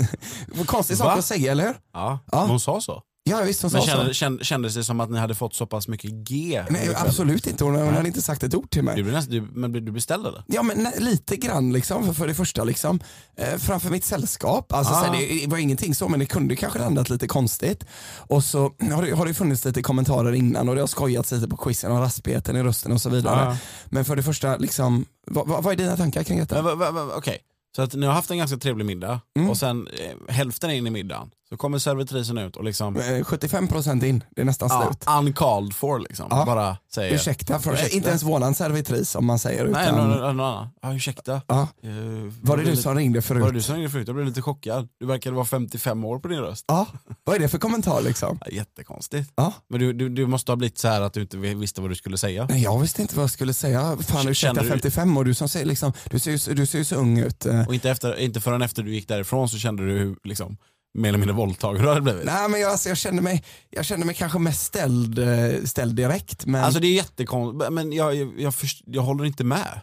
Speaker 2: Vad Konstig sak
Speaker 1: Va?
Speaker 2: att säga eller hur?
Speaker 1: Ja,
Speaker 2: Ja.
Speaker 1: men hon sa så.
Speaker 2: Ja visst hon sa
Speaker 1: Men
Speaker 2: så.
Speaker 1: kände, kände, kändes det som att ni hade fått så pass mycket G?
Speaker 2: Nej
Speaker 1: ikväll?
Speaker 2: absolut inte, hon, hon
Speaker 1: Nej.
Speaker 2: hade inte sagt ett ord till mig.
Speaker 1: Du, blev nästan- du, men blev du beställd eller?
Speaker 2: Ja men nej, lite grann liksom, för, för det första liksom. Eh, framför mitt sällskap, alltså
Speaker 1: Ah.
Speaker 2: så här, det var ingenting så men det kunde kanske landat lite konstigt. Och så har det, har det funnits lite kommentarer innan och det har skojats lite på quizen och raspigheten i rösten och så vidare.
Speaker 1: Ja.
Speaker 2: Men för det första, liksom, vad, vad, vad är dina tankar kring detta?
Speaker 1: Men va- va- va- Okej, så att ni har haft en ganska trevlig middag
Speaker 2: Mm.
Speaker 1: och sen eh, hälften in i middagen Så kommer servitrisen ut och liksom,
Speaker 2: Eh, 75% in, det är nästan
Speaker 1: ja,
Speaker 2: slut.
Speaker 1: uncalled for liksom.
Speaker 2: Ah. Ja.
Speaker 1: Bara säger.
Speaker 2: Ursäkta, för
Speaker 1: Ursäkta.
Speaker 2: inte ens våran servitris om man säger.
Speaker 1: Nej,
Speaker 2: utan,
Speaker 1: någon, någon annan. Ja, ursäkta.
Speaker 2: ja.
Speaker 1: Eh,
Speaker 2: Var
Speaker 1: jag
Speaker 2: det
Speaker 1: blev
Speaker 2: du
Speaker 1: lite-
Speaker 2: som ringde förut?
Speaker 1: Var det du som ringde förut? Jag blev lite chockad. Du verkade vara 55 år på din röst.
Speaker 2: Ja, vad är det för kommentar liksom?
Speaker 1: Ja, jättekonstigt.
Speaker 2: Ja.
Speaker 1: Men du, du, du måste ha blivit så här att du inte visste vad du skulle säga.
Speaker 2: Nej, jag visste inte vad jag skulle säga. Fan
Speaker 1: Känner
Speaker 2: ursäkta
Speaker 1: du-
Speaker 2: 55 och du som säger liksom, du ser ju, så- du ser ju så ung ut. Eh,
Speaker 1: Och inte, efter, inte förrän efter du gick därifrån så kände du hur liksom, mer eller mindre våldtagen du hade blivit.
Speaker 2: Nej men jag, alltså, jag, kände mig, jag kände mig kanske mest ställd, eh, ställd direkt. Men
Speaker 1: Alltså det är jättekonstigt, men jag, jag, jag, först, jag håller inte med.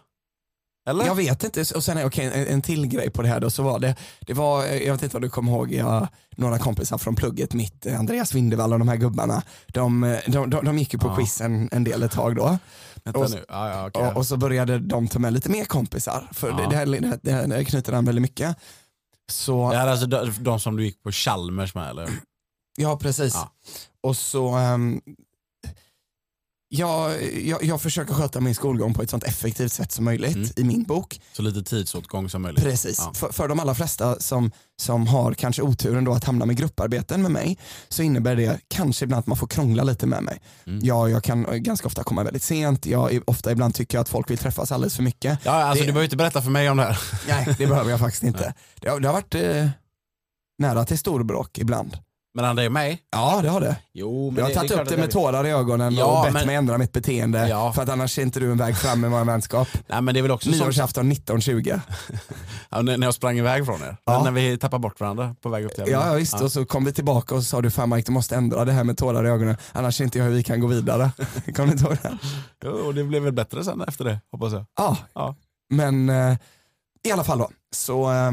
Speaker 1: Eller?
Speaker 2: jag vet inte. Och sen är okej, en, en till grej på det här då. Så var det, det var, eh, jag vet inte vad du kommer ihåg, jag, några kompisar från plugget mitt, eh, Andreas Vindevall och de här gubbarna. De, eh, de, de, de gick ju på
Speaker 1: Ja.
Speaker 2: quiz en, en del ett tag då.
Speaker 1: Vänta
Speaker 2: och-
Speaker 1: nu. Ja, ja, okej.
Speaker 2: Och, och så började de ta med lite mer kompisar. För
Speaker 1: Ja.
Speaker 2: det, det, här, det, här, det här knyter an väldigt mycket. Så
Speaker 1: Det här är alltså de, de som du gick på Chalmers med eller?
Speaker 2: Ja, precis.
Speaker 1: Ja.
Speaker 2: Och så, ehm, jag, jag, jag försöker sköta min skolgång på ett sånt effektivt sätt som möjligt
Speaker 1: Mm.
Speaker 2: i min bok.
Speaker 1: Så lite tidsåtgång som möjligt.
Speaker 2: Precis.
Speaker 1: Ja.
Speaker 2: För, för de allra flesta som, som har kanske oturen då att hamna med grupparbeten med mig så innebär det kanske ibland att man får krångla lite med mig.
Speaker 1: Mm.
Speaker 2: Jag, jag kan eh, ganska ofta komma väldigt sent, jag är- ofta ibland tycker jag att folk vill träffas alldeles för mycket.
Speaker 1: Ja, alltså
Speaker 2: Det-
Speaker 1: du behöver inte berätta för mig om det här.
Speaker 2: Nej, det behöver jag faktiskt inte. Det har, det har varit eh, nära till storbråk ibland.
Speaker 1: Men han är mig?
Speaker 2: Ja, det har det.
Speaker 1: Jo, men
Speaker 2: Jag har
Speaker 1: det-
Speaker 2: tagit
Speaker 1: det är
Speaker 2: upp
Speaker 1: klart
Speaker 2: det
Speaker 1: att
Speaker 2: med
Speaker 1: jag-
Speaker 2: tårar i ögonen
Speaker 1: Ja,
Speaker 2: och bett
Speaker 1: men-
Speaker 2: mig ändra mitt beteende.
Speaker 1: Ja.
Speaker 2: För att annars är inte du en väg fram med vår vänskap.
Speaker 1: Nej men det är väl också sånt
Speaker 2: Nyårsafton 1920.
Speaker 1: Ja, när när jag sprang iväg från er.
Speaker 2: Ja.
Speaker 1: När vi tappade bort varandra på väg upp till
Speaker 2: Ja,
Speaker 1: Gävle.
Speaker 2: ja visst,
Speaker 1: Ja.
Speaker 2: och så kom vi tillbaka och så sa du fan Mike du måste ändra det här med tårar i ögonen. Annars är inte jag hur vi kan gå vidare. Kommer du inte ihåg det?
Speaker 1: Jo, och det blev väl bättre sen efter det, hoppas jag.
Speaker 2: Ja.
Speaker 1: Ja.
Speaker 2: Men eh, i alla fall då. Så eh,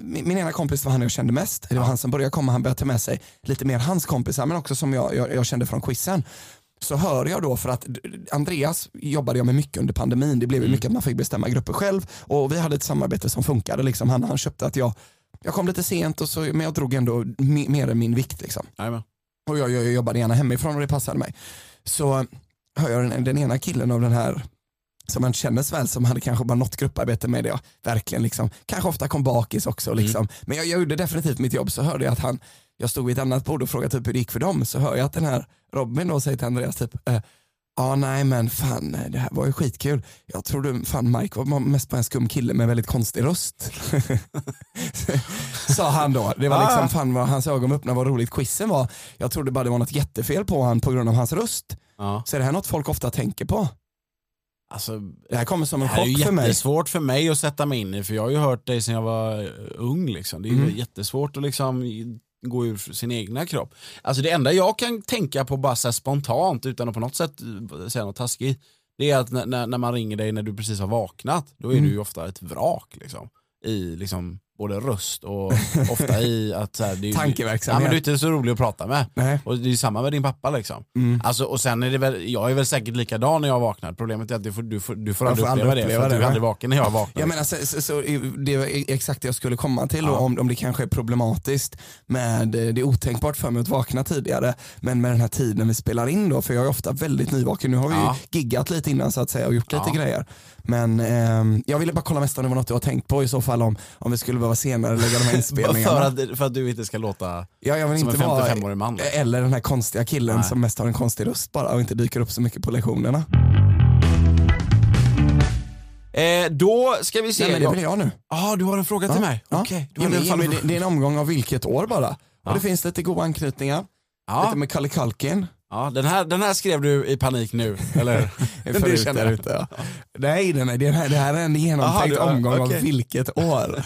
Speaker 2: min, min ena kompis var han jag kände mest. Det var han som började komma, han började ta med sig lite mer hans kompisar men också som jag, jag, jag kände från quizen. Så hör jag då för att d- Andreas jobbade jag med mycket under pandemin. Det blev ju mycket att man fick bestämma grupper själv och vi hade ett samarbete som funkade. Liksom. Han, han köpte att jag, jag kom lite sent och så, men jag drog ändå me- mer än min vikt. Liksom.
Speaker 1: Jajamän.
Speaker 2: Och jag, jag, jag jobbade gärna hemifrån och det passade mig. Så hör jag den, den ena killen av den här som man känner så väl som hade kanske bara något grupparbete med det och verkligen liksom, kanske ofta kom bakis också liksom. Men jag, jag gjorde definitivt mitt jobb så hörde jag att han, jag stod vid ett annat bord och frågade typ hur det gick för dem så hör jag att den här Robin då säger till Andreas typ eh, Ja nej men fan det här var ju skitkul. Jag tror du fan Mike var mest bara en skum kille med väldigt konstig röst. Sa han då. Det var liksom fan vad hans ögon öppnade vad roligt quizen var. Jag trodde bara det var något jättefel på han på grund av hans röst.
Speaker 1: Ja.
Speaker 2: Så är det här något folk ofta tänker på?
Speaker 1: Alltså,
Speaker 2: Det här kommer som
Speaker 1: det
Speaker 2: en
Speaker 1: här är
Speaker 2: chock för
Speaker 1: ju
Speaker 2: mig.
Speaker 1: jättesvårt för mig att sätta mig in i, för jag har ju hört dig sedan jag var eh, ung. Liksom. Det är ju
Speaker 2: Mm.
Speaker 1: jättesvårt att liksom i- gå ur sin egna kropp. Alltså det enda jag kan tänka på bara så här spontant, utan att på något sätt eh, säga något taskigt, det är att när- när, när man ringer dig när du precis har vaknat, då är
Speaker 2: Mm.
Speaker 1: du ju ofta ett vrak. Liksom, I liksom både röst och ofta i att så här, det är ju, Ja,
Speaker 2: Tankeverksamhet.
Speaker 1: men du är inte så rolig att prata med.
Speaker 2: Nej.
Speaker 1: Och det är samma med din pappa liksom.
Speaker 2: Mm.
Speaker 1: Alltså, och sen är det väl, jag är väl säkert likadan när jag vaknar. Problemet är att du får, du får, du får
Speaker 2: Jag
Speaker 1: aldrig
Speaker 2: får
Speaker 1: uppleva
Speaker 2: aldrig
Speaker 1: det.
Speaker 2: uppleva
Speaker 1: För att du
Speaker 2: det,
Speaker 1: är aldrig vaken när jag vaknar.
Speaker 2: Jag menar, så, så, så, det är exakt det jag skulle komma till
Speaker 1: Ja.
Speaker 2: och om, om det kanske är problematiskt med, eh, det är otänkbart för mig att vakna tidigare men med den här tiden vi spelar in då för jag är ofta väldigt nyvaken. Nu har vi
Speaker 1: Ja.
Speaker 2: ju giggat lite innan så att säga och gjort
Speaker 1: Ja.
Speaker 2: lite grejer. Men ehm, jag ville bara kolla mest om det var något jag har tänkt på i så fall om, om vi skulle behöva senare lägga de här
Speaker 1: Bara för,
Speaker 2: inspelningarna.
Speaker 1: att, liksom. för att du inte ska låta
Speaker 2: ja, jag vill
Speaker 1: som en
Speaker 2: inte vara
Speaker 1: 55-årig man. liksom.
Speaker 2: eller den här konstiga killen
Speaker 1: Nej.
Speaker 2: som mest har en konstig röst bara och inte dyker upp så mycket på lektionerna.
Speaker 1: Eh, då ska vi se.
Speaker 2: Nej, men det vill jag nu.
Speaker 1: ah, du har en fråga till mig?
Speaker 2: Ja.
Speaker 1: Okej. du
Speaker 2: Ja,
Speaker 1: har
Speaker 2: men,
Speaker 1: i alla fall-
Speaker 2: men det, det är en omgång av vilket år bara.
Speaker 1: Ja.
Speaker 2: Och det finns lite goda anknytningar.
Speaker 1: Ja,
Speaker 2: Lite med Kalle Kalkin.
Speaker 1: ja, den, här, den här skrev du i panik nu, eller? Den
Speaker 2: Förut
Speaker 1: du känner.
Speaker 2: där ute, ja. Nej, nej, nej det, här, det här är en genomtänkt
Speaker 1: Aha, du- ja,
Speaker 2: omgång
Speaker 1: okej.
Speaker 2: av vilket år.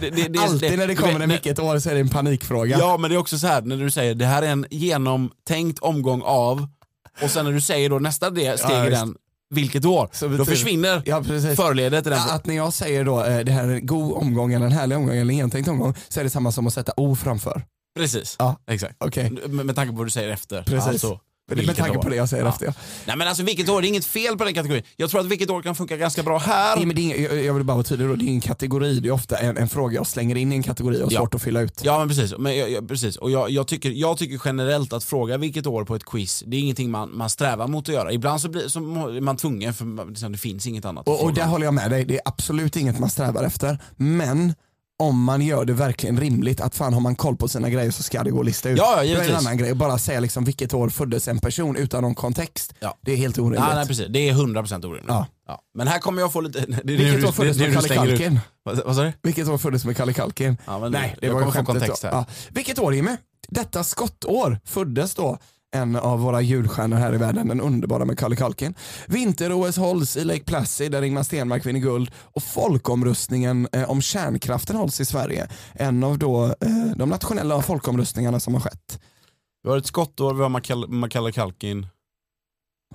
Speaker 1: Det- det- det-
Speaker 2: Alltid när det
Speaker 1: du
Speaker 2: kommer
Speaker 1: vet,
Speaker 2: en vilket år så är det en panikfråga.
Speaker 1: Ja men det är också så här när du säger det här är en genomtänkt omgång av och sen när du säger då nästa det, steg
Speaker 2: Ja,
Speaker 1: i
Speaker 2: just.
Speaker 1: den, vilket år?
Speaker 2: Så
Speaker 1: då
Speaker 2: betyder-
Speaker 1: försvinner
Speaker 2: Ja, precis.
Speaker 1: förledet i den.
Speaker 2: Ja, Att när jag säger då eh, det här är en god omgång, eller en härlig omgång eller en genomtänkt omgång så är det samma som att sätta O framför.
Speaker 1: Precis,
Speaker 2: Ja.
Speaker 1: exakt.
Speaker 2: Okej,
Speaker 1: Med, med tanke på vad du säger efter.
Speaker 2: Precis.
Speaker 1: Alltså,
Speaker 2: med, med
Speaker 1: vilket
Speaker 2: tanke
Speaker 1: år.
Speaker 2: på det jag säger
Speaker 1: Ja.
Speaker 2: efter. ja.
Speaker 1: Nej men alltså vilket år, det är inget fel på den kategorin. Jag tror att vilket år kan funka ganska bra här.
Speaker 2: Nej, men det är, inga- jag- jag vill bara vara tydlig, då, det är en kategori, det är ofta en, en fråga jag slänger in i en kategori och
Speaker 1: Ja.
Speaker 2: svårt att fylla ut.
Speaker 1: Ja men precis, men jag, jag, precis. och jag, jag, tycker, jag tycker generellt att fråga vilket år på ett quiz, det är ingenting man, man strävar mot att göra. Ibland så, blir, så må- är man tvungen för man- liksom, det finns inget annat att
Speaker 2: Och, och
Speaker 1: fråga.
Speaker 2: där håller jag med dig, det är absolut inget man strävar efter. Men om man gör det verkligen rimligt, att fan har man koll på sina grejer så ska det gå att lista ut.
Speaker 1: Ja, ja,
Speaker 2: det är en
Speaker 1: givetvis.
Speaker 2: annan grej, bara säga liksom vilket år föddes en person utan någon kontext.
Speaker 1: Ja.
Speaker 2: Det är helt orimligt.
Speaker 1: Nej, nej, precis. Det är 100% orimligt.
Speaker 2: Ja.
Speaker 1: Ja. Men här kommer jag få lite... Det är nu
Speaker 2: vilket
Speaker 1: du-
Speaker 2: år föddes
Speaker 1: det är nu
Speaker 2: Macaulay
Speaker 1: du stänger ut.
Speaker 2: Culkin?
Speaker 1: Vad vad sa du?
Speaker 2: Vilket år föddes Macaulay Culkin?
Speaker 1: Ja, men
Speaker 2: Nej, det
Speaker 1: jag
Speaker 2: var ju
Speaker 1: kommer få
Speaker 2: skämtet.
Speaker 1: kontext här.
Speaker 2: Ja. Vilket år Jimmy? Detta skottår föddes då en av våra julstjärnor här i världen, den underbara Macaulay Culkin. Vinter-OS hålls i Lake Placid där Ingmar Stenmark vinner guld och folkomröstningen eh, om kärnkraften hålls i Sverige. En av då, eh, de nationella folkomröstningarna som har skett.
Speaker 1: Vi har ett skottår, vi har Macal- Macaulay Culkin.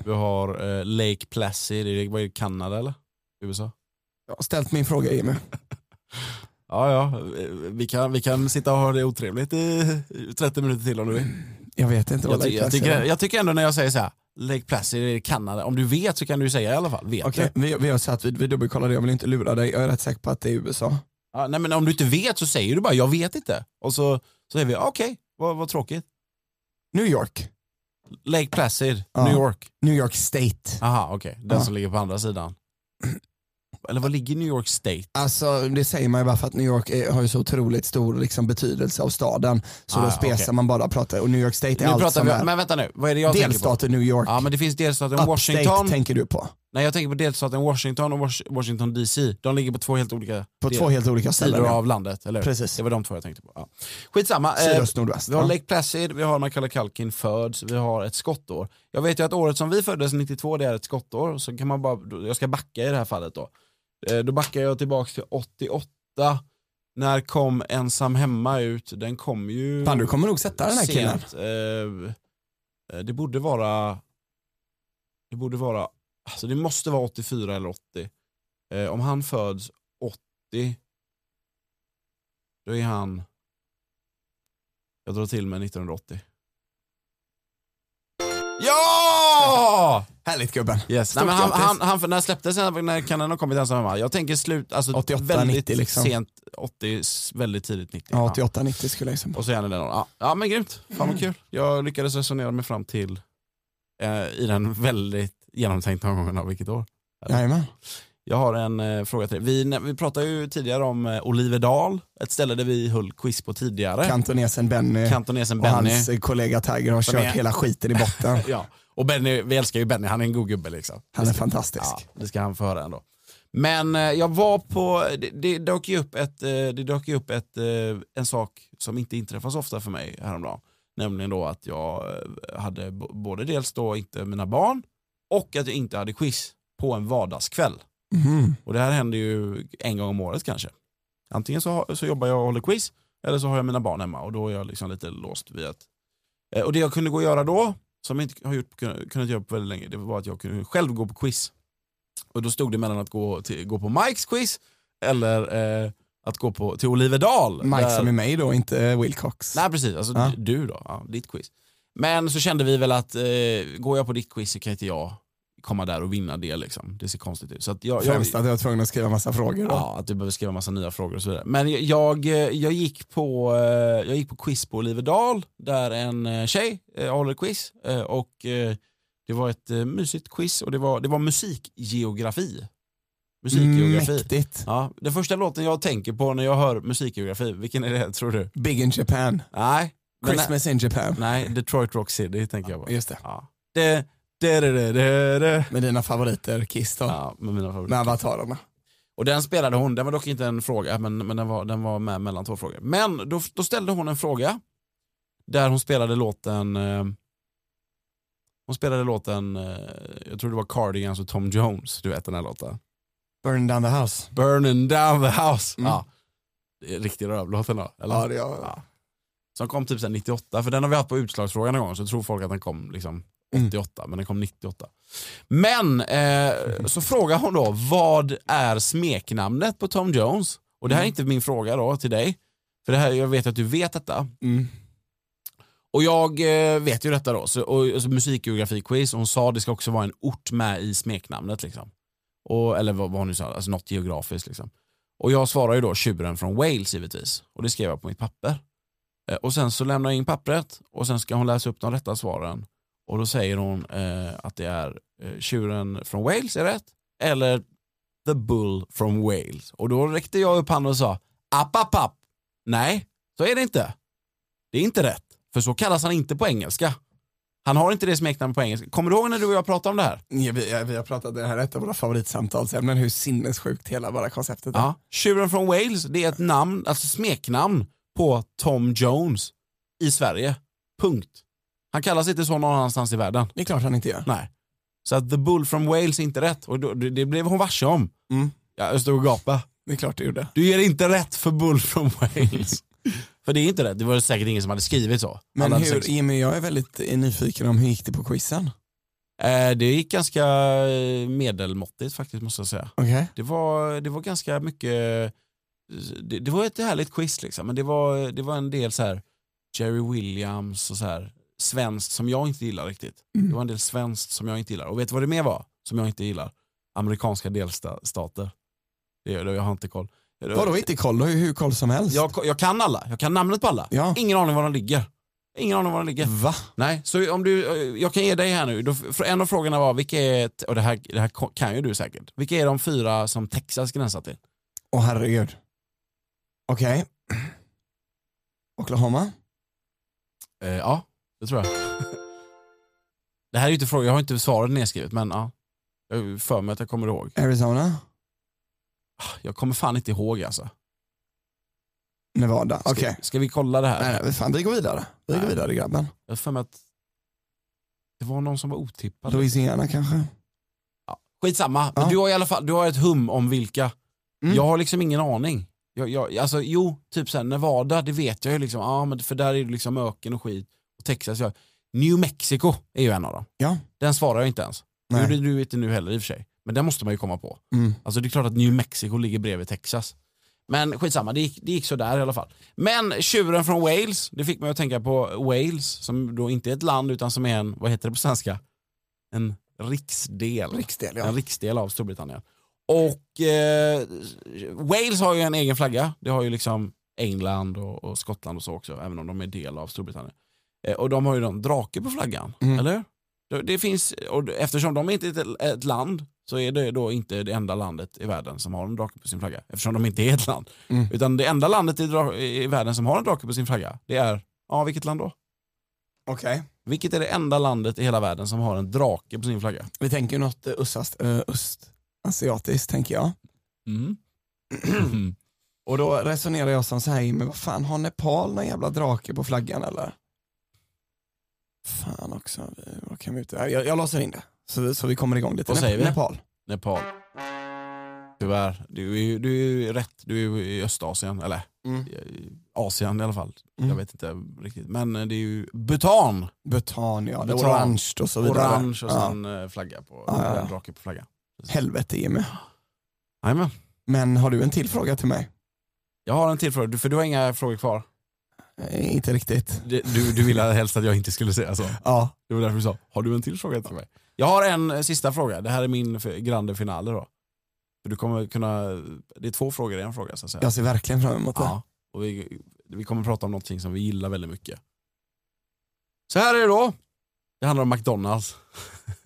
Speaker 1: Vi har eh, Lake Placid, det var i Kanada eller? USA?
Speaker 2: Jag har ställt min fråga Jimmy.
Speaker 1: Ja, ja. eh, Vi kan, vi kan sitta och ha det otrevligt i 30 minuter till om du vill.
Speaker 2: Jag vet inte vad
Speaker 1: Jag, ty-
Speaker 2: Mm, Lake
Speaker 1: jag,
Speaker 2: Placid
Speaker 1: tycker,
Speaker 2: är.
Speaker 1: jag tycker ändå när jag säger så här, Lake Placid är i Kanada. Om du vet så kan du ju säga i alla fall. Vet
Speaker 2: Okej,
Speaker 1: du?
Speaker 2: vi, vi har satt, vi, vi dubbelkollade, jag vill inte lura dig. Jag är rätt säker på att det är USA.
Speaker 1: Ja, nej, men om du inte vet så säger du bara, jag vet inte. Och så så säger vi, okej, vad, vad tråkigt.
Speaker 2: New York.
Speaker 1: Lake Placid,
Speaker 2: Ja.
Speaker 1: New York.
Speaker 2: New York State.
Speaker 1: Aha, okej. Den
Speaker 2: Ja.
Speaker 1: som ligger på andra sidan. Eller var ligger New York State?
Speaker 2: Alltså det säger man ju bara för att New York är, har ju så otroligt stor liksom, betydelse av staden. Så
Speaker 1: Ah,
Speaker 2: då
Speaker 1: ja,
Speaker 2: spesar
Speaker 1: okej.
Speaker 2: man bara pratar och New York State är
Speaker 1: Nu
Speaker 2: allt
Speaker 1: pratar
Speaker 2: som
Speaker 1: vi,
Speaker 2: är.
Speaker 1: men vänta nu, vad är det jag tänker på?
Speaker 2: Delstaten New York,
Speaker 1: Ja men det finns delstaten
Speaker 2: upstate
Speaker 1: Washington,
Speaker 2: tänker du på.
Speaker 1: nej jag tänker på delstaten Washington och Wash- Washington DC. De ligger på två helt olika
Speaker 2: På
Speaker 1: del-
Speaker 2: två helt olika
Speaker 1: sidor
Speaker 2: ställen. ja.
Speaker 1: av Eh, landet, eller hur?
Speaker 2: Precis.
Speaker 1: Det var de två jag tänkte på. Ja. Skitsamma, eh,
Speaker 2: Sydöst, nordväst.
Speaker 1: vi har
Speaker 2: Ja.
Speaker 1: Lake Placid, vi har Macaulay Culkin föds, vi har ett skottår. Jag vet ju att året som vi föddes, 92, det är ett skottår, så kan man bara, då- jag ska backa i det här fallet då. Eh, Då backar jag tillbaks till 88, när kom Ensam Hemma ut? Den kom ju...
Speaker 2: Fan du kommer nog sätta den här killen.
Speaker 1: sent. Eh, eh, det borde vara... Det borde vara... Alltså det måste vara 84 eller 80. Eh, om han föds 80, då är han... Jag drar till med 1980. Ja!
Speaker 2: Härligt gubben.
Speaker 1: Yes. Nej,
Speaker 2: Stort
Speaker 1: men han,
Speaker 2: grattis.
Speaker 1: han, han, när släpptes den? När kan den ha kommit ensam hemma? Jag tänker slut, alltså
Speaker 2: 88,
Speaker 1: väldigt
Speaker 2: 90 liksom.
Speaker 1: sent 80, s- väldigt tidigt 90.
Speaker 2: Ja, 88-90 skulle jag liksom- gissa på.
Speaker 1: Och så är han i den åldern. Ja, ja men grymt, fan vad kul. Jag lyckades resonera mig fram till eh, i den väldigt genomtänkta omgången av vilket år.
Speaker 2: Jajamän.
Speaker 1: Jag har en eh, fråga till dig. Vi, när- vi pratade ju tidigare om eh, Olivedal, ett ställe där vi höll quiz på tidigare.
Speaker 2: Kantonesen Benny
Speaker 1: Kantonesen
Speaker 2: och
Speaker 1: Eh. Benny.
Speaker 2: hans eh, kollega Tiger har
Speaker 1: Som
Speaker 2: kört
Speaker 1: är-
Speaker 2: hela skiten i botten.
Speaker 1: Ja. Och Benny, vi älskar ju Benny, han är en god gubbe liksom.
Speaker 2: Han är fantastisk.
Speaker 1: Ja, det ska han få höra ändå. Men eh, jag var på, det, det dök ju upp, ett, eh, det dök ju upp ett, eh, en sak som inte inträffar så ofta för mig häromdagen. Nämligen då att jag eh, hade b- både dels då inte mina barn och att jag inte hade quiz på en vardagskväll.
Speaker 2: Mhm.
Speaker 1: Och det här händer ju en gång om året kanske. Antingen så, har- så jobbar jag och håller quiz eller så har jag mina barn hemma och då är jag liksom lite låst vid att... Eh, Och det jag kunde gå och göra då, som jag inte har gjort, kunnat kunnat göra på väldigt länge, det var att jag kunde själv gå på quiz. Och då stod det mellan att gå, till, gå på Mikes quiz eller eh, att gå på, till Olivedal.
Speaker 2: Mike
Speaker 1: där-
Speaker 2: som är mig då, inte eh, Wilcox.
Speaker 1: Nej precis, alltså
Speaker 2: Ja.
Speaker 1: d- du då, ja, ditt quiz. Men så kände vi väl att eh, går jag på ditt quiz så kan inte jag komma där och vinna det liksom. Det ser konstigt ut. Så att jag, jag,
Speaker 2: Främst att jag var tvungen att skriva massa frågor då.
Speaker 1: Ja, att du behöver skriva massa nya frågor och så vidare. Men jag- jag, eh, jag, gick, på, eh, jag gick på quiz på Olivedal där en eh, tjej eh, håller quiz eh, och eh, det var ett eh, mysigt quiz och det var, det var musikgeografi. Musikgeografi.
Speaker 2: Mäktigt.
Speaker 1: Ja, den första låten jag tänker på när jag hör musikgeografi, vilken är det tror du?
Speaker 2: Big in Japan.
Speaker 1: Nej, men-
Speaker 2: Christmas in Japan.
Speaker 1: nej Detroit Rock City tänker jag på.
Speaker 2: Just det.
Speaker 1: Ja. Det, det, det, det, det, det.
Speaker 2: Med dina favoriter Kiss då.
Speaker 1: Ja, med mina favoriter.
Speaker 2: Med avatarerna.
Speaker 1: Och den spelade hon, den var dock inte en fråga, men, men den, var, den var med mellan två frågor. Men då, då ställde hon en fråga där hon spelade låten eh, hon spelade låten, eh, jag tror det var Cardigans och Tom Jones, du vet den här låten.
Speaker 2: Burn down the house.
Speaker 1: Burning down the house.
Speaker 2: Mm.
Speaker 1: Ja. Det är riktig rövlåt ändå, eller?
Speaker 2: Ja, det jag.
Speaker 1: Ja. Som kom typ sen 98, för den har vi haft på utslagsfrågan en gång, så tror folk att den kom liksom
Speaker 2: Mm.
Speaker 1: 88, men den kom 98. Men eh, så frågar hon då, vad är smeknamnet på Tom Jones? Och det här är inte min fråga då till dig, för det här, jag vet att du vet detta.
Speaker 2: Mm.
Speaker 1: Och jag eh, vet ju detta då, så, och, och så musikgeografiquiz, och hon sa det ska också vara en ort med i smeknamnet. Liksom. Och, eller vad, vad hon nu sa, alltså något geografiskt. Liksom. Och jag svarar ju då tjuren från Wales givetvis, och det skrev jag på mitt papper. Eh, och sen så lämnar jag in pappret och sen ska hon läsa upp de rätta svaren. Och då säger hon eh, att det är eh, tjuren från Wales är rätt, eller the bull from Wales. Och då räckte jag upp handen och sa, App, app, app. Nej, så är det inte. Det är inte rätt, för så kallas han inte på engelska. Han har inte det smeknamnet på engelska. Kommer du ihåg när du och jag pratade om det här?
Speaker 2: Ja, vi, ja, vi har pratat, det här är ett av våra favoritsamtalsämnen, hur sinnessjukt hela bara konceptet är.
Speaker 1: Ja. Tjuren från Wales, det är ett namn, alltså smeknamn på Tom Jones i Sverige. Punkt. Han kallas inte så någon annanstans i världen.
Speaker 2: Det är klart han inte gör.
Speaker 1: Nej. Så att The Bull from Wales är inte rätt och då, det det blev hon varse om.
Speaker 2: Mm.
Speaker 1: Ja, jag stod och gapade.
Speaker 2: Det är klart det gjorde.
Speaker 1: Du ger inte rätt för Bull from Wales. för det är inte rätt. Det var säkert ingen som hade skrivit så.
Speaker 2: Men
Speaker 1: Alla hade
Speaker 2: hur,
Speaker 1: sex-
Speaker 2: Jimmy, jag är väldigt eh, nyfiken om hur gick det på quizen?
Speaker 1: Eh, det gick ganska eh, medelmåttigt faktiskt måste jag säga.
Speaker 2: Okej.
Speaker 1: Det var, det var ganska mycket, det, det var ett härligt quiz liksom, men det var, det var en del så här Jerry Williams och så här svenskt som jag inte gillar riktigt.
Speaker 2: Mm.
Speaker 1: Det var en del svenskt som jag inte gillar. Och vet du vad det mer var som jag inte gillar? Amerikanska delstater. Det gör det, jag har inte koll.
Speaker 2: Vadå inte koll? Du har ju hur koll som helst.
Speaker 1: Jag, jag kan alla, jag kan namnet på alla.
Speaker 2: Ja.
Speaker 1: Ingen aning var de ligger. Ingen aning var de ligger.
Speaker 2: Va?
Speaker 1: Nej, så om du, eh, jag kan ge dig här nu. Då, för en av frågorna var, vilka är, t- och det här, det här ko- kan ju du säkert, vilka är de fyra som Texas gränsar till?
Speaker 2: Åh herregud. Okej. Oklahoma?
Speaker 1: Eh, ja, det tror jag. det här är ju inte frågan, jag har inte svaret nedskrivet men ja. Jag har för mig att jag kommer ihåg.
Speaker 2: Arizona?
Speaker 1: Jag kommer fan inte ihåg alltså.
Speaker 2: Nevada?
Speaker 1: Ska,
Speaker 2: Okej.
Speaker 1: ska vi kolla det här?
Speaker 2: Nej, nej, fan, vi går vidare. Vi går
Speaker 1: Nej.
Speaker 2: vidare grabben.
Speaker 1: Jag har för mig att det var någon som var otippad.
Speaker 2: Louisiana kanske?
Speaker 1: Skitsamma, men
Speaker 2: Ja.
Speaker 1: du har i alla fall du har ett hum om vilka.
Speaker 2: Mm.
Speaker 1: Jag har liksom ingen aning. Jag, jag, alltså, jo, typ såhär Nevada, det vet jag ju liksom. Ja, men för där är det liksom öken och skit. Och Texas, jag, New Mexico är ju en av dem.
Speaker 2: Ja.
Speaker 1: Den svarar jag inte ens. Det
Speaker 2: Nej.
Speaker 1: gjorde du inte nu heller i och för sig. Men den måste man ju komma på.
Speaker 2: Mm.
Speaker 1: Alltså det är klart att New Mexico ligger bredvid Texas. Men skitsamma, det gick, det gick sådär i alla fall. Men tjuren från Wales, det fick mig att tänka på Wales som då inte är ett land utan som är en, vad heter det på svenska? En riksdel.
Speaker 2: Riksdel
Speaker 1: En riksdel av Storbritannien. Och eh, Wales har ju en egen flagga. Det har ju liksom England och, och Skottland och så också, även om de är del av Storbritannien. Eh, och de har ju en drake på flaggan,
Speaker 2: Mm.
Speaker 1: eller? Det, det finns, och eftersom de inte är ett, ett land så är det då inte det enda landet i världen som har en drake på sin flagga. Eftersom de inte är ett land.
Speaker 2: Mm.
Speaker 1: Utan det enda landet i, dra- i världen som har en drake på sin flagga, det är, ja vilket land då?
Speaker 2: Okej.
Speaker 1: Vilket är det enda landet i hela världen som har en drake på sin flagga?
Speaker 2: Vi tänker något eh, östast, eh, östasiatiskt tänker jag. Mm. Och då resonerar jag som så här, men vad fan har Nepal någon jävla drake på flaggan eller? Fan också, eh, vad kan vi ut jag, jag låser in det. Så, så vi kommer igång lite.
Speaker 1: Vad
Speaker 2: Nep-
Speaker 1: säger vi?
Speaker 2: Nepal.
Speaker 1: Nepal. Tyvärr, du är ju du är ju rätt. Du är ju i Östasien, eller
Speaker 2: Mm.
Speaker 1: i Asien i alla fall. Jag
Speaker 2: Mm.
Speaker 1: vet inte riktigt. Men eh, det är ju Bhutan,
Speaker 2: Bhutan ja, det är
Speaker 1: Bhutan.
Speaker 2: orange och så vidare.
Speaker 1: orange och
Speaker 2: ja.
Speaker 1: sen eh, flagga på,
Speaker 2: Ja, ja, ja.
Speaker 1: en drake på flagga.
Speaker 2: Helvete Jimmy.
Speaker 1: Jajamän.
Speaker 2: Men har du en till fråga till mig?
Speaker 1: Jag har en till fråga, Du- för du har inga frågor kvar.
Speaker 2: Eh, inte riktigt.
Speaker 1: Du, du, du ville helst att jag inte skulle säga så.
Speaker 2: Ja,
Speaker 1: Det var därför du sa, har du en till fråga till mig? Jag har en eh, sista fråga, det här är min f- grande finale då. För du kommer kunna, det är två frågor i en fråga så att säga.
Speaker 2: jag ser verkligen fram emot det.
Speaker 1: Ja, och vi, vi kommer prata om någonting som vi gillar väldigt mycket. Så här är det då. Det handlar om McDonalds.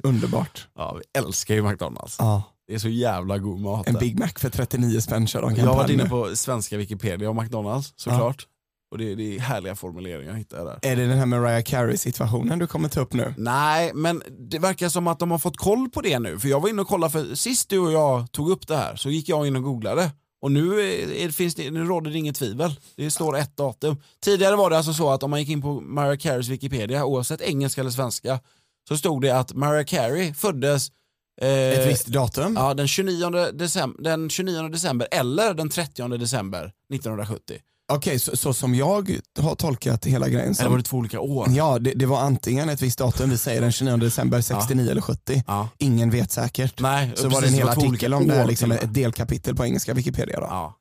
Speaker 2: Underbart.
Speaker 1: Ja, vi älskar ju McDonalds.
Speaker 2: Ja.
Speaker 1: Det är så jävla god mat.
Speaker 2: En
Speaker 1: där.
Speaker 2: Big Mac för 39 spänn kör de
Speaker 1: jag har varit
Speaker 2: kampanj
Speaker 1: inne
Speaker 2: nu.
Speaker 1: på svenska Wikipedia om McDonalds såklart. Och det, det är härliga formuleringar jag hittar där.
Speaker 2: Är det den här Mariah Carey situationen du kommer ta upp nu?
Speaker 1: Nej, men det verkar som att de har fått koll på det nu. För jag var inne och kollade, för sist du och jag tog upp det här så gick jag in och googlade. Och nu, är, är- finns det, nu råder det inget tvivel. Det står ett datum. Tidigare var det alltså så att om man gick in på Mariah Careys Wikipedia, oavsett engelska eller svenska, så stod det att Mariah Carey föddes eh,
Speaker 2: Ett visst datum?
Speaker 1: ja, den, 29 december, den 29 december eller den 30 december 1970.
Speaker 2: Okej, så, så som jag har tolkat hela grejen
Speaker 1: Eller var
Speaker 2: som,
Speaker 1: det två olika år?
Speaker 2: Ja, det, det var antingen ett visst datum, vi säger den 29 december 69 eller 70.
Speaker 1: Ja.
Speaker 2: Ingen vet säkert.
Speaker 1: Nej,
Speaker 2: så var det en
Speaker 1: precis,
Speaker 2: hel
Speaker 1: två olika
Speaker 2: artikel om det, här,
Speaker 1: år
Speaker 2: liksom
Speaker 1: till och
Speaker 2: ett
Speaker 1: med.
Speaker 2: delkapitel på engelska Wikipedia. Då.
Speaker 1: Ja.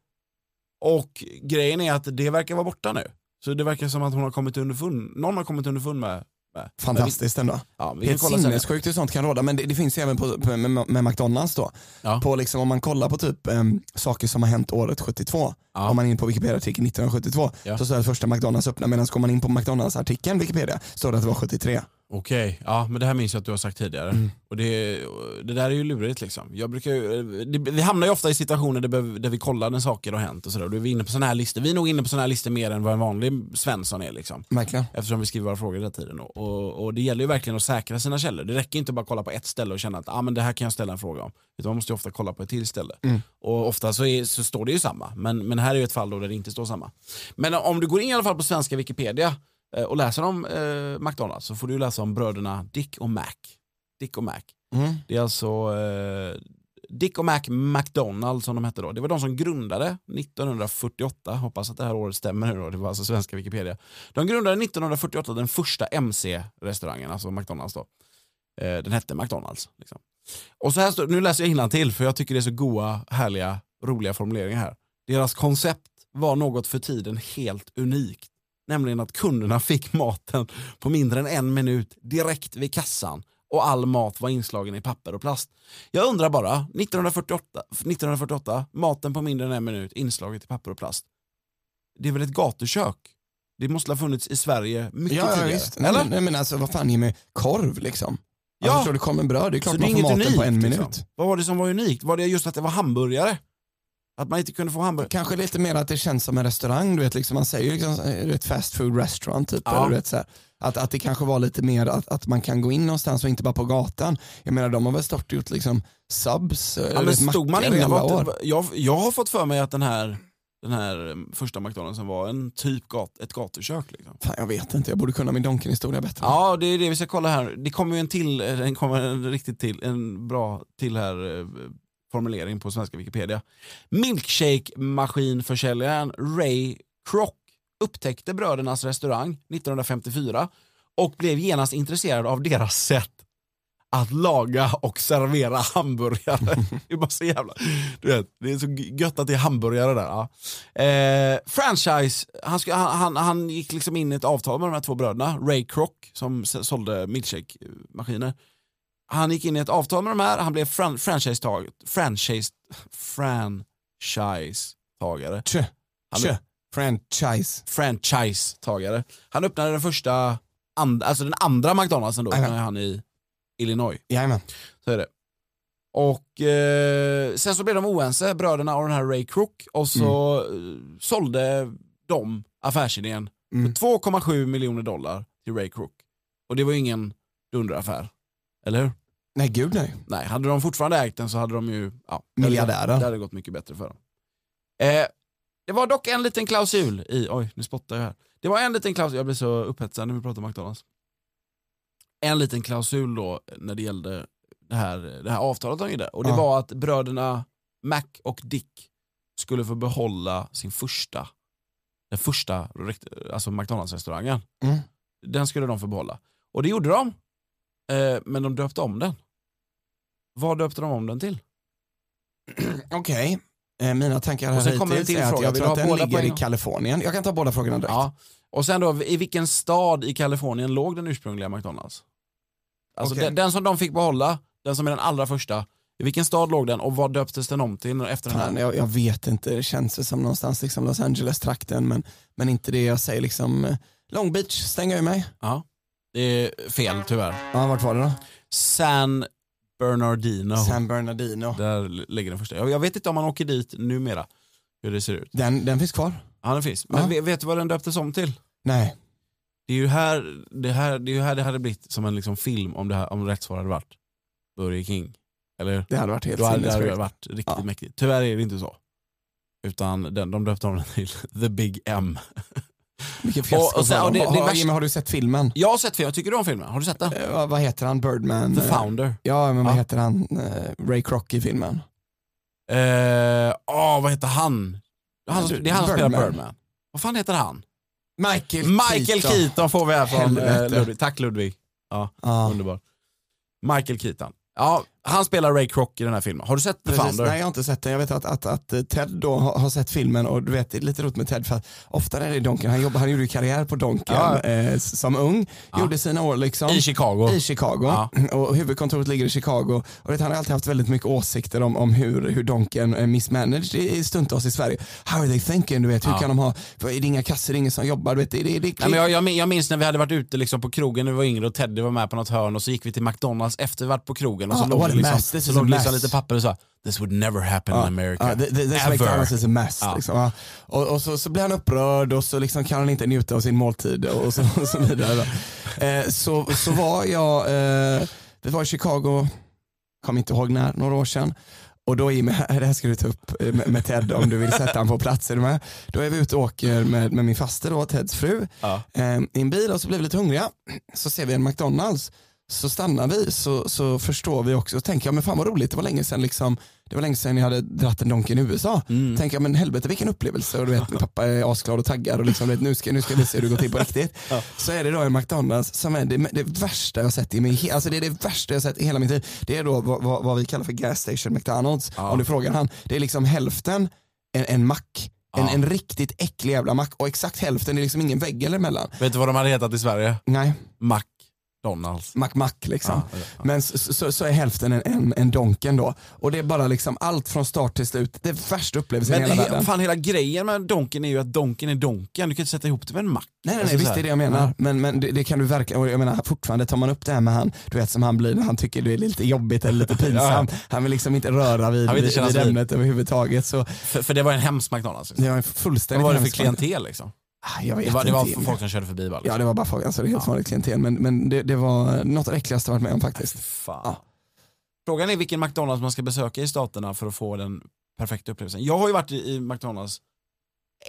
Speaker 1: Och grejen är att det verkar vara borta nu. Så det verkar som att hon har kommit underfund, någon har kommit underfund med. med.
Speaker 2: Fantastiskt ändå.
Speaker 1: Ja, vi kan
Speaker 2: Helt
Speaker 1: kolla sen.
Speaker 2: sinnessjukt hur sånt kan råda, men det, det finns ju även på, på, med, med McDonalds då.
Speaker 1: Ja.
Speaker 2: På liksom, om man kollar på typ em, saker som har hänt året 72,
Speaker 1: Ja.
Speaker 2: om man är in på Wikipedia-artikeln 1972,
Speaker 1: Ja.
Speaker 2: så står det att första McDonalds öppnade, medan går man in på McDonalds-artikeln Wikipedia, står det att det var 73.
Speaker 1: Okej, ja men det här minns jag att du har sagt tidigare.
Speaker 2: Mm.
Speaker 1: Och det, och det där är ju lurigt liksom. Jag brukar, ju- det, vi hamnar ju ofta i situationer där, behöv- där vi kollar när saker har hänt och sådär. Och då är vi inne på sådana här listor. Vi är nog inne på sådana här listor mer än vad en vanlig Svensson är liksom.
Speaker 2: Verkligen.
Speaker 1: Eftersom vi skriver våra frågor hela tiden. Och, och, och det gäller ju verkligen att säkra sina källor. Det räcker inte bara att kolla på ett ställe och känna att ah, men det här kan jag ställa en fråga om. Utan man måste ju ofta kolla på ett till ställe. Och ofta så, är, så står det ju samma. Men, men här är ju ett fall då där det inte står samma. Men om du går in i alla fall på svenska Wikipedia eh, och läser om eh, McDonalds så får du ju läsa om bröderna Dick och Mac. Dick och Mac.
Speaker 2: Mm.
Speaker 1: Det är alltså eh, Dick och Mac McDonald som de hette då. Det var de som grundade 1948, hoppas att det här året stämmer nu då, det var alltså svenska Wikipedia. De grundade 1948 den första MC-restaurangen, alltså McDonalds då. Eh, den hette McDonalds. Liksom. Och så här står, nu läser jag till för jag tycker det är så goa, härliga, roliga formuleringar här. Deras koncept var något för tiden helt unikt. Nämligen att kunderna fick maten på mindre än en minut direkt vid kassan och all mat var inslagen i papper och plast. Jag undrar bara, 1948, 1948 maten på mindre än en minut inslaget i papper och plast. Det är väl ett gatukök? Det måste ha funnits i Sverige mycket
Speaker 2: Ja, ja
Speaker 1: tidigare?
Speaker 2: visst. Nej, men, nej, men alltså vad fan ger mig korv liksom?
Speaker 1: Ja.
Speaker 2: Alltså, förstår du, korv med bröd, det är klart
Speaker 1: Så det är
Speaker 2: man får
Speaker 1: inget unikt,
Speaker 2: maten på en minut.
Speaker 1: liksom. Vad var det som var unikt? Var det just att det var hamburgare? Att man inte kunde få hamburgare?
Speaker 2: Kanske lite mer att det känns som en restaurang, du vet, liksom, man säger ju liksom, eh, du vet, fast food restaurant typ.
Speaker 1: Ja.
Speaker 2: Eller, du vet, så här. Att, att det kanske var lite mer att, att man kan gå in någonstans och inte bara på gatan. Jag menar de har väl stort gjort liksom subs,
Speaker 1: Ja, men stod man inne?
Speaker 2: var
Speaker 1: Var, jag, jag har fått för mig att den här, den här eh, första McDonald's var en typ gat, ett gatukök. Liksom.
Speaker 2: Fan, jag vet inte, jag borde kunna min Donken-historia bättre.
Speaker 1: Ja, det är det vi ska kolla här. Det kommer ju en till, eh, den kommer en riktigt till, en bra till här eh, formulering på svenska Wikipedia. Milkshake-maskinförsäljaren Ray Kroc upptäckte brödernas restaurang 1954 och blev genast intresserad av deras sätt att laga och servera hamburgare. Det är bara så jävla... Du vet, det är så gött att det är hamburgare där. Ja. Eh, franchise, han, skulle, han, han, han gick liksom in i ett avtal med de här två bröderna, Ray Kroc som s- sålde milkshake-maskiner. Han gick in i ett avtal med de här, han blev fran- franchisetag- franchise, franchise-tagare.
Speaker 2: Tjö,
Speaker 1: Han-
Speaker 2: tjö, franchise.
Speaker 1: franchisetagare. Han öppnade den första, and, alltså den andra McDonald'sen då,
Speaker 2: Jajamän.
Speaker 1: när han i Illinois.
Speaker 2: Jajamän.
Speaker 1: Så är det. Och eh, sen så blev de oense, bröderna och den här Ray Kroc och så eh, sålde de affärsidén
Speaker 2: Mm.
Speaker 1: för 2,7 miljoner dollar till Ray Kroc. Och det var ju ingen dunderaffär, eller hur?
Speaker 2: Nej gud nej.
Speaker 1: Nej, hade de fortfarande ägt den så hade de ju... Ja,
Speaker 2: Miljardärer.
Speaker 1: Det hade gått mycket bättre för dem. Eh, det var dock en liten klausul i... Oj, nu spottar jag här. Det var en liten klausul, jag blir så upphetsad när vi pratar om McDonalds. En liten klausul då när det gällde det här, det här avtalet de gjorde. Och det
Speaker 2: Ja.
Speaker 1: var att bröderna Mac och Dick skulle få behålla sin första, den första rekt- alltså McDonalds-restaurangen.
Speaker 2: Mm.
Speaker 1: Den skulle de få behålla. Och det gjorde de. Eh, men de döpte om den. Vad döpte de om den till?
Speaker 2: Okej, eh, mina tankar
Speaker 1: Och sen
Speaker 2: här
Speaker 1: kommer en
Speaker 2: hittills
Speaker 1: till
Speaker 2: är att
Speaker 1: fråga.
Speaker 2: jag
Speaker 1: Vill
Speaker 2: tror
Speaker 1: du
Speaker 2: att
Speaker 1: ha
Speaker 2: den
Speaker 1: båda
Speaker 2: ligger i
Speaker 1: poängen?
Speaker 2: Kalifornien. Jag kan ta båda frågorna direkt.
Speaker 1: Ja. Och sen då, i vilken stad i Kalifornien låg den ursprungliga McDonalds? Alltså
Speaker 2: Okej.
Speaker 1: den, den som de fick behålla, den som är den allra första. I vilken stad låg den och vad döptes den om till efter den
Speaker 2: Fan,
Speaker 1: här?
Speaker 2: jag, jag vet inte, det känns ju som någonstans liksom Los Angeles-trakten men, men inte det jag säger liksom eh, Long Beach, stänger jag ju mig.
Speaker 1: Ja. Det är fel tyvärr.
Speaker 2: Ja, vart var det då?
Speaker 1: San Bernardino.
Speaker 2: San Bernardino.
Speaker 1: Där l- ligger den första. Jag, jag vet inte om man åker dit numera. Hur det ser ut.
Speaker 2: Den, den finns kvar?
Speaker 1: Ja den finns. Men
Speaker 2: Ja.
Speaker 1: ve- vet du vad den döptes om till?
Speaker 2: Nej.
Speaker 1: Det är ju här det, här, det, är ju här det hade blivit som en liksom film om, det här, om rätt svar hade varit Burger King. Eller hur?
Speaker 2: Det hade varit helt
Speaker 1: Då hade det hade
Speaker 2: sinnessjukt.
Speaker 1: varit riktigt
Speaker 2: Ja.
Speaker 1: mäktigt. Tyvärr är det inte så. Utan den, de döpte om den till The Big M.
Speaker 2: Vilken
Speaker 1: Och- och sen-
Speaker 2: fiasko.
Speaker 1: och det-
Speaker 2: Det,
Speaker 1: det
Speaker 2: har,
Speaker 1: värsta-
Speaker 2: Jimmy, har du sett filmen?
Speaker 1: Jag har sett filmen, jag tycker du om filmen? Har du sett den?
Speaker 2: Eh, vad- vad heter han? Birdman?
Speaker 1: The
Speaker 2: eh,
Speaker 1: Founder.
Speaker 2: Ja, men vad
Speaker 1: Ja.
Speaker 2: heter han? Eh, Ray Kroc i filmen.
Speaker 1: Eh, åh, vad heter han? han som- det är han som spelar
Speaker 2: Birdman.
Speaker 1: Birdman. Vad fan heter han?
Speaker 2: Michael
Speaker 1: Michael Keaton får vi här från eh,
Speaker 2: Helvete.
Speaker 1: Ludvig. Tack Ludvig,
Speaker 2: Ja.
Speaker 1: underbar. Michael Keaton. Ja, Han spelar Ray Kroc i den här filmen. Har du sett The
Speaker 2: Precis.
Speaker 1: Founder?
Speaker 2: Nej jag har inte sett den. Jag vet att, att, att Ted då har, har sett filmen och du vet, det är lite roligt med Ted för att ofta är det Donken, han, jobbar, han gjorde ju karriär på Donken
Speaker 1: Ja.
Speaker 2: eh, s- som ung, gjorde sina år liksom.
Speaker 1: I Chicago.
Speaker 2: I Chicago.
Speaker 1: Ja.
Speaker 2: Och huvudkontoret ligger i Chicago. Och vet, han har alltid haft väldigt mycket åsikter om, om hur, hur Donken är mismanaged i, i stundtals i Sverige. How are they thinking? Du vet, hur kan de ha, för är det inga kassor, det är ingen som jobbar? Du vet, det, det, det,
Speaker 1: Nej, men jag, jag, min- jag minns när vi hade varit ute liksom på krogen när vi var yngre och Teddy var med på något hörn och så gick vi till McDonalds efter vi varit på krogen och så
Speaker 2: Ah,
Speaker 1: låg
Speaker 2: what
Speaker 1: det
Speaker 2: a
Speaker 1: liksom,
Speaker 2: mess. This
Speaker 1: så
Speaker 2: is a
Speaker 1: låg det Ah, liksom
Speaker 2: mess.
Speaker 1: lite papper och sa This would never happen in America.
Speaker 2: Ja, th- th- this McDonald's is a mess.
Speaker 1: Ja.
Speaker 2: Liksom, ja. Och, och så, så blir han upprörd och så liksom kan han inte njuta av sin måltid och så, och så vidare. eh, så, så var jag, eh, det var i Chicago, kom inte ihåg när, några år sedan. Och då Jimmy, det här ska du ta upp eh, med, med Ted om du vill sätta honom på plats. Är du med? Då är vi ute och åker med, med min faster då, Teds fru,
Speaker 1: Ja.
Speaker 2: eh, i en bil och så blir vi lite hungriga. Så ser vi en McDonalds. Så stannar vi så, så förstår vi också, och tänker jag men fan vad roligt, det var länge sedan liksom, det var länge sedan jag hade dratt en Donken i USA. Tänker jag men helvete vilken upplevelse och du vet pappa är asglad och taggad och liksom, du vet, nu, ska, nu ska jag visa hur det går till på riktigt. Så är det då en McDonalds som är det, det värsta jag sett i min, he- alltså det är det värsta jag sett i hela mitt liv. Det är då vad, vad, vad vi kallar för gas station McDonalds, om du frågar han. Det är liksom hälften en, en mack, en, en riktigt äcklig jävla mack och exakt hälften är liksom ingen vägg eller emellan.
Speaker 1: Vet du vad de hade hetat i Sverige?
Speaker 2: Nej,
Speaker 1: McDonalds.
Speaker 2: mack-mack liksom.
Speaker 1: Ja, ja, ja.
Speaker 2: Men så, så, så är hälften en, en, en donken då. Och det är bara liksom allt från start till slut, det är värsta upplevelsen
Speaker 1: Men
Speaker 2: i hela
Speaker 1: he,
Speaker 2: världen.
Speaker 1: fan hela grejen med donken är ju att donken är donken. Du kan inte sätta ihop det med en mack.
Speaker 2: Nej, nej, nej
Speaker 1: Alltså, så
Speaker 2: visst
Speaker 1: här.
Speaker 2: det är det jag menar. Men, men det, det kan du verkligen, och jag menar fortfarande tar man upp det här med han, du vet som han blir när han tycker det är lite jobbigt eller lite pinsamt. Han vill liksom inte röra vid,
Speaker 1: Han vill inte
Speaker 2: vid,
Speaker 1: kännas
Speaker 2: vid
Speaker 1: vid.
Speaker 2: ämnet överhuvudtaget. Så
Speaker 1: För, för det var en hemsk McDonalds. Liksom.
Speaker 2: det var en
Speaker 1: Vad
Speaker 2: fullständigt
Speaker 1: var det för
Speaker 2: hemsk-
Speaker 1: klientel liksom?
Speaker 2: Ah, Jag vet
Speaker 1: Det var, det var
Speaker 2: inte.
Speaker 1: för folk som körde förbi bara. Liksom.
Speaker 2: Ja det var bara folk, alltså det är helt vanligt klientel. Men, men det, det var något av det äckligaste jag varit med om faktiskt.
Speaker 1: Fan.
Speaker 2: Ja.
Speaker 1: Frågan är vilken McDonalds man ska besöka i staterna för att få den perfekta upplevelsen. Jag har ju varit i i McDonalds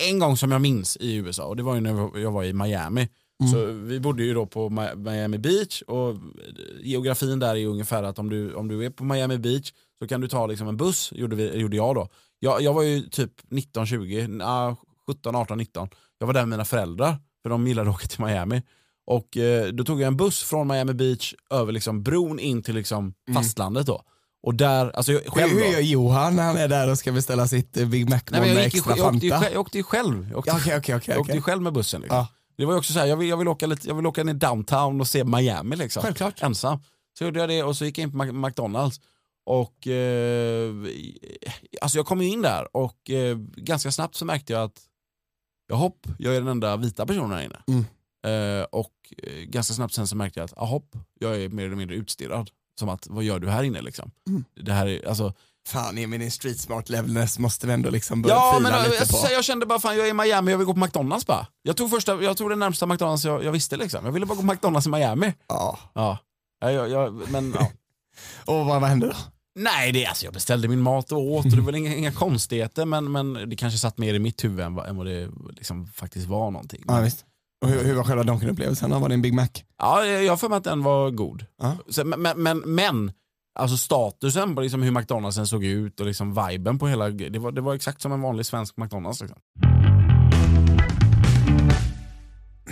Speaker 1: en gång som jag minns i USA och det var ju när jag var i Miami. Så vi bodde ju då på Mi- Miami Beach och geografin där är ju ungefär att om du, om du är på Miami Beach så kan du ta liksom en buss, gjorde, vi, gjorde jag då. Jag, jag var ju typ 19, 20, nja, 17, 18, 19. Jag var där med mina föräldrar för de gillade att åka till Miami. Och eh, då tog jag en buss från Miami Beach över liksom bron in till liksom fastlandet då. Och där, alltså jag, själv
Speaker 2: Hur
Speaker 1: då.
Speaker 2: gör Johan när han är där och ska beställa sitt eh, Big Mac
Speaker 1: Nej,
Speaker 2: Nej,
Speaker 1: men jag,
Speaker 2: med
Speaker 1: gick ju,
Speaker 2: extra
Speaker 1: jag, åkte ju,
Speaker 2: Fanta?
Speaker 1: själv- jag åkte ju själv. Jag åkte,
Speaker 2: Ja, Okej, okej, okej.
Speaker 1: jag åkte ju
Speaker 2: okej.
Speaker 1: själv med bussen. Liksom.
Speaker 2: Ja.
Speaker 1: Det var ju också så här, jag vill, jag vill, åka lite, jag vill åka ner downtown och se Miami liksom.
Speaker 2: Självklart.
Speaker 1: Ensam. Så gjorde jag det och så gick jag in på Mac- McDonalds. Och eh, alltså jag kom ju in där och eh, ganska snabbt så märkte jag att jahopp, jag är den enda vita personen här inne.
Speaker 2: Mm.
Speaker 1: Eh, och eh, ganska snabbt sen så märkte jag att ahopp, jag är mer eller mindre utstirrad. Som att, vad gör du här inne liksom?
Speaker 2: Mm.
Speaker 1: Det här är, alltså,
Speaker 2: Fan Emil, din street smart levelness måste vi ändå liksom börja
Speaker 1: Ja,
Speaker 2: fila
Speaker 1: men eh, jag,
Speaker 2: lite på.
Speaker 1: jag, jag kände bara fan jag är i Miami, jag vill gå på McDonalds bara. Jag tog, första, jag tog den närmsta McDonalds jag, jag visste liksom. Jag ville bara gå på McDonalds i Miami.
Speaker 2: Ja.
Speaker 1: Ja. Ja, jag, jag, men, ja.
Speaker 2: Och vad, vad hände då?
Speaker 1: Nej, det, alltså, jag beställde min mat och åt och det var inga, inga konstigheter men, men det kanske satt mer i mitt huvud än vad, än vad det liksom faktiskt var någonting.
Speaker 2: Ja, visst. Och hur, hur var själva Donken-upplevelsen? Var det en Big Mac?
Speaker 1: Ja, jag jag har för mig att den var god.
Speaker 2: Ja.
Speaker 1: Så, men, men, men, men alltså statusen på liksom hur McDonaldsen såg ut och liksom viben på hela det var, det var exakt som en vanlig svensk McDonalds. Liksom.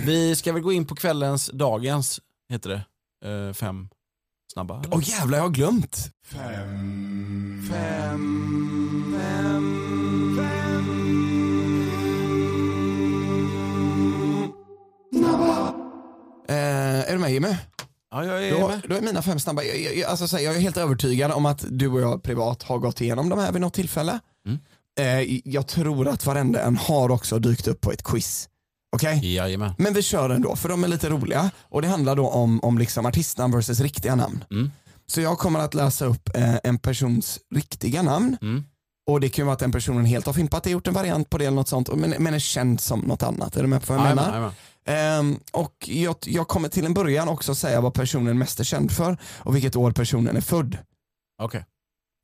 Speaker 1: Vi ska väl gå in på kvällens, dagens, heter det, eh, fem snabba. eller?
Speaker 2: Åh jävlar, jag har glömt. Fem, fem, fem, Eh, är du med Jimmy?
Speaker 1: Ja, jag är
Speaker 2: Då,
Speaker 1: med.
Speaker 2: då är mina fem snabba, jag, jag- jag, alltså, så här, jag är helt övertygad om att du och jag privat har gått igenom de här vid något tillfälle.
Speaker 1: Mm.
Speaker 2: Eh, jag tror att varenda en har också dykt upp på ett quiz. Okej?
Speaker 1: Jajamän.
Speaker 2: Men vi kör ändå för de är lite roliga och det handlar då om, om liksom artistnamn versus riktiga namn.
Speaker 1: Mm.
Speaker 2: Så jag kommer att läsa upp eh, en persons riktiga namn
Speaker 1: Mm.
Speaker 2: och det kan ju vara att den personen helt har fimpat det, gjort en variant på det eller något sånt men, men är känd som något annat. Är du med på vad jag
Speaker 1: Jajamän,
Speaker 2: menar?
Speaker 1: jajamän.
Speaker 2: Ehm, och jag, jag kommer till en början också säga vad personen mest är känd för och vilket år personen är född.
Speaker 1: Okej.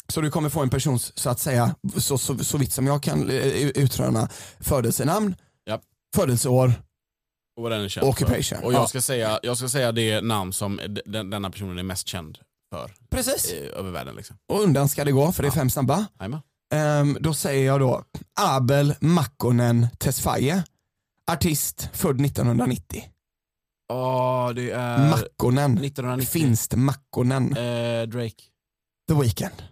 Speaker 2: Så du kommer få en persons, så att säga, så, så, så vitt som jag kan eh, utröna, födelsenamn,
Speaker 1: Japp.
Speaker 2: födelseår
Speaker 1: Och vad den är känd
Speaker 2: och
Speaker 1: för.
Speaker 2: occupation.
Speaker 1: Och
Speaker 2: Ja.
Speaker 1: jag ska, säga, jag ska säga det namn som d- den, denna personen är mest känd för
Speaker 2: Precis.
Speaker 1: eh, över världen. Liksom.
Speaker 2: Och undan ska det gå för det är fem snabba.
Speaker 1: Jajamän.
Speaker 2: Ehm, då säger jag då Abel Makkonen Tesfaye. Artist född 1990.
Speaker 1: Åh, det är Eh,
Speaker 2: Makkonen.
Speaker 1: 1990.
Speaker 2: Finst Makkonen.
Speaker 1: Eh, Drake.
Speaker 2: The Weeknd.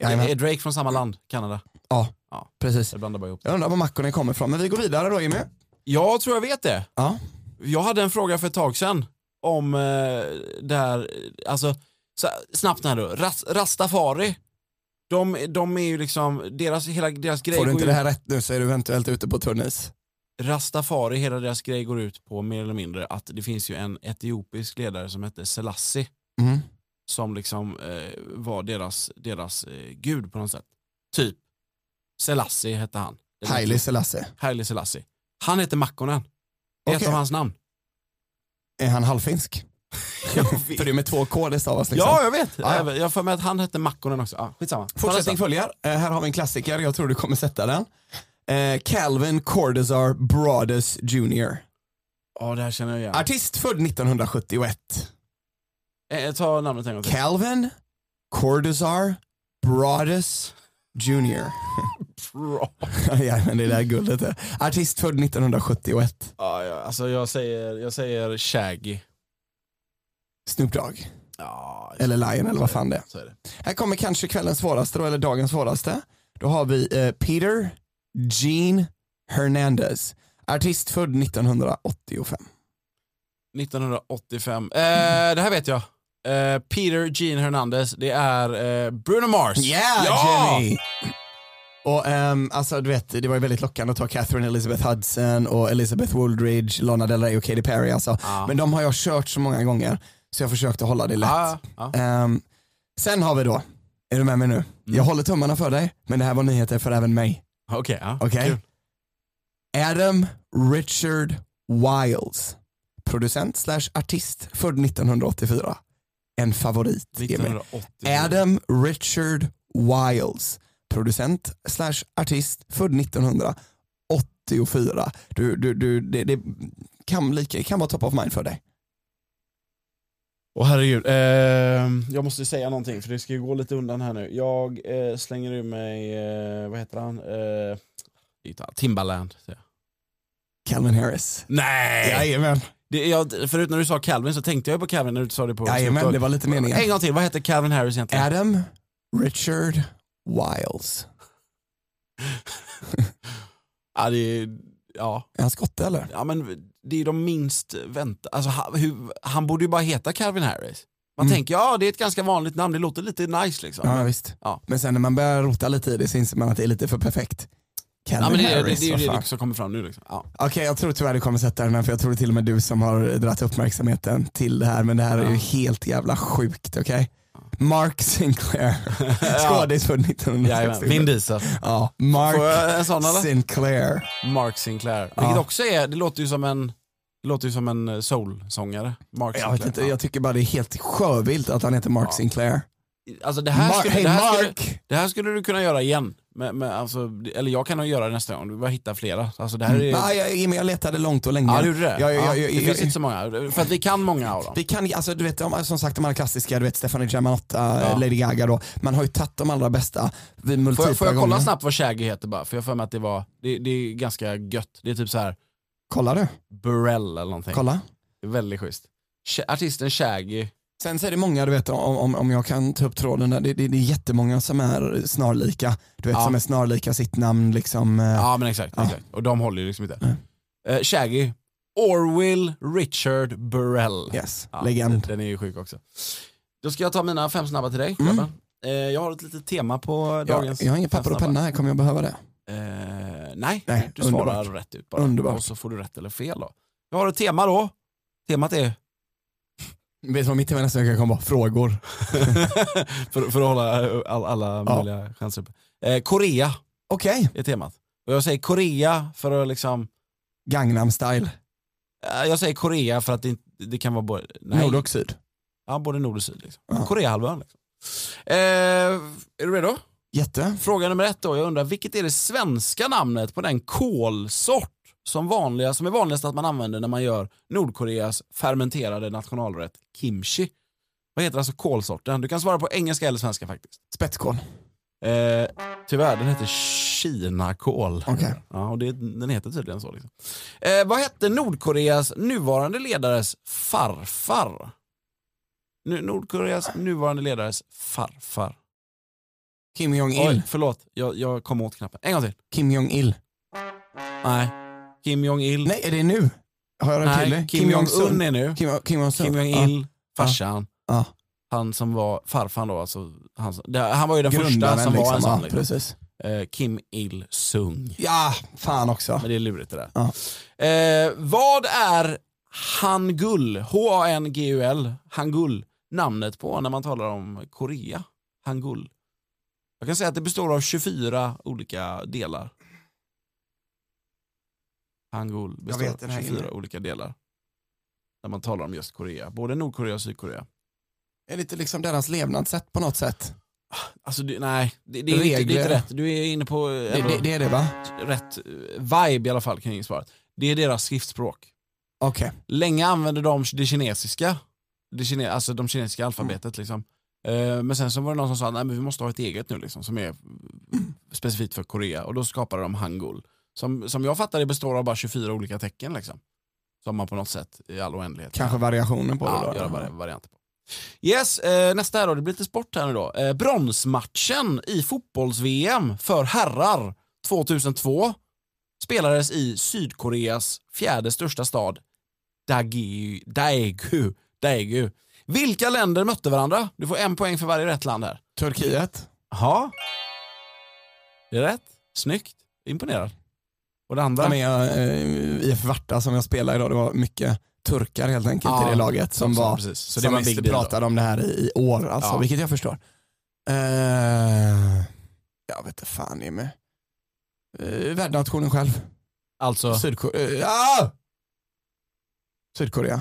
Speaker 2: Jajamän.
Speaker 1: Är Drake från samma land? Kanada?
Speaker 2: Ja,
Speaker 1: Ja.
Speaker 2: precis.
Speaker 1: Jag blandar bara ihop.
Speaker 2: Jag undrar var mackorna kommer ifrån, men vi går vidare då Jimmy.
Speaker 1: Jag tror jag vet det.
Speaker 2: Ja.
Speaker 1: Jag hade en fråga för ett tag sedan om eh, det här, alltså så, snabbt här då, Ras, rastafari. De, de är ju liksom, deras, hela deras grej
Speaker 2: Får du
Speaker 1: går
Speaker 2: inte
Speaker 1: ut,
Speaker 2: det här rätt nu så är du eventuellt ute på tunn is.
Speaker 1: rastafari, hela deras grej går ut på mer eller mindre att det finns ju en etiopisk ledare som hette Selassie
Speaker 2: Mm.
Speaker 1: som liksom eh, var deras, deras eh, gud på något sätt. Typ. Selassie hette han. Den
Speaker 2: Haile Selassie.
Speaker 1: Haile Selassie. Han hette Makkonen. Det är
Speaker 2: Okej.
Speaker 1: ett av hans namn.
Speaker 2: Är han halvfinsk? För det är med två K det stavas liksom.
Speaker 1: Ja, jag vet.
Speaker 2: Ja, ja.
Speaker 1: Även- Jag har för mig att han hette Makkonen också. Ah, skitsamma.
Speaker 2: Fortsättning
Speaker 1: Ta nästa.
Speaker 2: följer. Eh, här har vi en klassiker, jag tror du kommer sätta den. Eh, Calvin Cortazar Broadus Jr.
Speaker 1: Ja, det här känner jag igen.
Speaker 2: Artist född 1971.
Speaker 1: Eh, ta namnet en gång till.
Speaker 2: Calvin Cortazar Broadus Jr.
Speaker 1: Bra.
Speaker 2: ja, men det där guldet. är. Artist född 1971.
Speaker 1: Ja, ja, alltså jag säger, jag säger Shaggy.
Speaker 2: Snoop Dogg.
Speaker 1: Ja,
Speaker 2: Eller Lion eller vad fan det är.
Speaker 1: Så är det.
Speaker 2: Här kommer kanske kvällens svåraste då, eller dagens svåraste. Då har vi eh, Peter Gene Hernandez. Artist född 1985.
Speaker 1: 1985. Eh, det här vet jag. Eh, Peter Gene Hernandez. Det är eh, Bruno Mars.
Speaker 2: Yeah
Speaker 1: ja!
Speaker 2: Jenny! Och ehm, alltså du vet, det var ju väldigt lockande att ta Catherine Elizabeth Hudson och Elizabeth Wooldridge, Lana Del Rey och Katy Perry alltså.
Speaker 1: Ja.
Speaker 2: Men de har jag kört så många gånger så jag försökte hålla det lätt.
Speaker 1: Ja, ja.
Speaker 2: Ehm, sen har vi då, är du med mig nu?
Speaker 1: Mm.
Speaker 2: Jag håller tummarna för dig, men det här var nyheter för även mig.
Speaker 1: Okej, ja.
Speaker 2: Okej?
Speaker 1: Kul.
Speaker 2: Adam Richard Wiles, producent slash artist född 1984. En favorit. Jimmy.
Speaker 1: 1980.
Speaker 2: Adam Richard Wiles, producent slash artist född 1984. Du, du, du, det, det kan, lika, kan vara top of mind för dig.
Speaker 1: Åh herregud, Ehm, jag måste säga någonting för det ska ju gå lite undan här nu. Jag eh, slänger ur mig, eh, vad heter han? Eh, gitarr. Timbaland. säger jag.
Speaker 2: Calvin Harris.
Speaker 1: Nej!
Speaker 2: Jajamän.
Speaker 1: Det, jag, förut när du sa Calvin så tänkte jag på Calvin när du sa det på
Speaker 2: Jajamän, det var lite meningen.
Speaker 1: En gång till, vad heter Calvin Harris egentligen?
Speaker 2: Adam Richard Wiles.
Speaker 1: Ja, det är, ja.
Speaker 2: Är han skotte eller?
Speaker 1: ja, men det är de minst väntade. Alltså, han, hur, han borde ju bara heta Calvin Harris. Man
Speaker 2: Mm.
Speaker 1: tänker, ja det är ett ganska vanligt namn, det låter lite nice liksom.
Speaker 2: Ja, visst.
Speaker 1: Ja.
Speaker 2: Men sen när man börjar rota lite i det så inser man att det är lite för perfekt. Calvin
Speaker 1: Ja, men det, är-
Speaker 2: Harris,
Speaker 1: det, det är
Speaker 2: vad
Speaker 1: ju
Speaker 2: fan.
Speaker 1: det som kommer fram nu. Liksom. Ja.
Speaker 2: Okej, jag tror tyvärr du kommer sätta den här för jag tror det är till och med du som har dragit uppmärksamheten till det här men det här är ju
Speaker 1: Ja.
Speaker 2: helt jävla sjukt, okej? Mark Sinclair, skådis född
Speaker 1: Jajamän, Vin
Speaker 2: 1960.
Speaker 1: Diesel.
Speaker 2: Ja,
Speaker 1: Får
Speaker 2: Mark
Speaker 1: jag en sån eller?
Speaker 2: Sinclair.
Speaker 1: Mark Sinclair. Vilket
Speaker 2: Ja.
Speaker 1: också är, det låter ju som en, det låter ju som en eh, soul-sångare. Mark
Speaker 2: Jag vet
Speaker 1: Sinclair.
Speaker 2: inte, jag tycker bara det är helt sjövilt att han heter Mark
Speaker 1: Ja.
Speaker 2: Sinclair.
Speaker 1: Ja. Alltså det här,
Speaker 2: Mar-
Speaker 1: skulle,
Speaker 2: Hej
Speaker 1: det, här skulle,
Speaker 2: Mark!
Speaker 1: det här skulle du kunna göra igen. Men, men alltså, det- eller jag kan nog göra det nästa gång, du bara hitta flera. Alltså det här är...
Speaker 2: Mm. Nej, jag, Jimmy, jag letade långt och länge.
Speaker 1: Ja, du gjorde det?
Speaker 2: Jag, jag,
Speaker 1: ja,
Speaker 2: jag, jag,
Speaker 1: det finns inte så många, för att vi kan många av dem.
Speaker 2: Vi kan, alltså du vet, de, som sagt de här klassiska, du vet Stefanie Germanotta,
Speaker 1: Ja.
Speaker 2: eh, Lady Gaga då. Man har ju tagit de allra bästa vid multipla
Speaker 1: Får jag, får jag kolla
Speaker 2: gånger.
Speaker 1: snabbt vad Shaggy heter bara? För jag har för mig att det var, det, det är ganska gött. Det är typ så här
Speaker 2: Kolla du,
Speaker 1: Burrell eller någonting.
Speaker 2: kolla.
Speaker 1: Det är väldigt schysst. Sh- Artisten Shaggy,
Speaker 2: Sen så är det många, du vet om, om, om jag kan ta upp tråden där, det, det, det är jättemånga som är snarlika. Du vet
Speaker 1: Ja.
Speaker 2: som är snarlika sitt namn liksom. eh,
Speaker 1: Ja men exakt,
Speaker 2: Ja.
Speaker 1: exakt. och de håller ju liksom inte.
Speaker 2: Nej.
Speaker 1: Eh, Shaggy, Orwell Richard Burrell.
Speaker 2: Yes,
Speaker 1: Ja,
Speaker 2: legend.
Speaker 1: Den är ju sjuk också. Då ska jag ta mina fem snabba till dig
Speaker 2: Mm.
Speaker 1: grabbar. eh, Jag har ett litet tema på
Speaker 2: Jag,
Speaker 1: dagens
Speaker 2: jag har inget
Speaker 1: fem
Speaker 2: papper och
Speaker 1: snabba.
Speaker 2: penna här, kommer jag behöva det?
Speaker 1: Eh, nej,
Speaker 2: Nej,
Speaker 1: du svarar
Speaker 2: underbart.
Speaker 1: rätt ut bara.
Speaker 2: Underbart.
Speaker 1: Och så får du rätt eller fel då. Jag har ett tema då. Temat är,
Speaker 2: Vet du vad mitt tema nästa vecka kommer vara? Frågor.
Speaker 1: för, för att hålla eh, all, alla
Speaker 2: Ja.
Speaker 1: möjliga chanser uppe. Eh, Korea
Speaker 2: Okej,
Speaker 1: är temat. Och jag säger Korea för att liksom,
Speaker 2: Gangnam style,
Speaker 1: eh, jag säger Korea för att det, inte- det kan vara både, nej.
Speaker 2: nord och syd.
Speaker 1: Ja, både nord och syd. Liksom.
Speaker 2: Ja.
Speaker 1: Koreahalvön. Liksom. Eh, är du redo?
Speaker 2: Jätte.
Speaker 1: Fråga nummer ett då. Jag undrar, vilket är det svenska namnet på den kolsort som, vanliga, som är vanligast att man använder när man gör Nordkoreas fermenterade nationalrätt kimchi? Vad heter alltså kolsorten? Du kan svara på engelska eller svenska faktiskt.
Speaker 2: Spetskål.
Speaker 1: Eh, tyvärr, den heter kinakål.
Speaker 2: Okej.
Speaker 1: Ja, och det, den heter tydligen så. Liksom. Eh, vad hette Nordkoreas nuvarande ledares farfar? Nu, Nordkoreas nuvarande ledares farfar.
Speaker 2: Kim Jong-Il.
Speaker 1: Oj, förlåt. Jag, jag kom åt knappen. En gång till.
Speaker 2: Kim Jong-Il.
Speaker 1: Nej. Kim Jong-Il.
Speaker 2: Nej, är det nu? Har jag rätt till det?
Speaker 1: Nej, Kim Jong-Un är nu.
Speaker 2: Kim, Kim Jong-sun.
Speaker 1: Kim Jong-Il, farsan.
Speaker 2: Ja.
Speaker 1: Han som var farfan då, alltså, han, som, det- han var ju den
Speaker 2: Ja,
Speaker 1: första
Speaker 2: grundaren
Speaker 1: som var en
Speaker 2: liksom.
Speaker 1: sån.
Speaker 2: Ja,
Speaker 1: Liksom.
Speaker 2: precis.
Speaker 1: Eh, Kim Il-Sung.
Speaker 2: Ja, fan också.
Speaker 1: Men det är lurigt det där.
Speaker 2: Ja.
Speaker 1: Eh, vad är Hangul, H-A-N-G-U-L, Hangul, namnet på när man talar om Korea? Hangul. Jag kan säga att det består av 24 olika delar. Hangul består
Speaker 2: vet den
Speaker 1: av
Speaker 2: här
Speaker 1: 24
Speaker 2: grejen.
Speaker 1: olika delar. När man talar om just Korea, både Nordkorea och Sydkorea.
Speaker 2: Det är lite liksom deras levnadssätt på något sätt.
Speaker 1: Alltså, du, nej, det, det, är inte, det är
Speaker 2: Regler.
Speaker 1: inte rätt. Du är inne på eh,
Speaker 2: Det,
Speaker 1: ändå
Speaker 2: det, det är det va?
Speaker 1: rätt eh, vibe i alla fall kring svaret. Det är deras skriftspråk.
Speaker 2: Okej.
Speaker 1: Länge använde de det kinesiska, det kine, alltså de kinesiska alfabetet. Liksom. Eh, men sen så var det någon som sa nej men vi måste ha ett eget nu liksom, som är eh, specifikt för Korea och då skapade de hangul. Som, som jag fattar det består av bara 24 olika tecken. Liksom, som man på något sätt i all oändlighet
Speaker 2: Kanske variationen på
Speaker 1: ja,
Speaker 2: det då.
Speaker 1: göra vari- varianter på. Yes, eh, nästa här då, det blir lite sport här nu då. Eh, bronsmatchen i fotbolls-VM för herrar 2002 spelades i Sydkoreas fjärde största stad Daegu. Daegu. Daegu. Vilka länder mötte varandra? Du får en poäng för varje rätt land här.
Speaker 2: Turkiet.
Speaker 1: Ja. Det är rätt. Snyggt. Imponerad. Och det andra?
Speaker 2: Ja, men jag, eh, IF Varta som jag spelade idag, det var mycket turkar helt enkelt
Speaker 1: Ja,
Speaker 2: i det laget som
Speaker 1: Så,
Speaker 2: var
Speaker 1: precis. Så
Speaker 2: Så
Speaker 1: det
Speaker 2: som
Speaker 1: var en
Speaker 2: visst
Speaker 1: big deal. då.
Speaker 2: pratade om det här i, i år, alltså,
Speaker 1: Ja.
Speaker 2: vilket jag förstår. Eh, jag vet inte fan Jimmy. Uh, Världsnationen själv.
Speaker 1: Alltså,
Speaker 2: Sydkorea. ah! Sydkorea.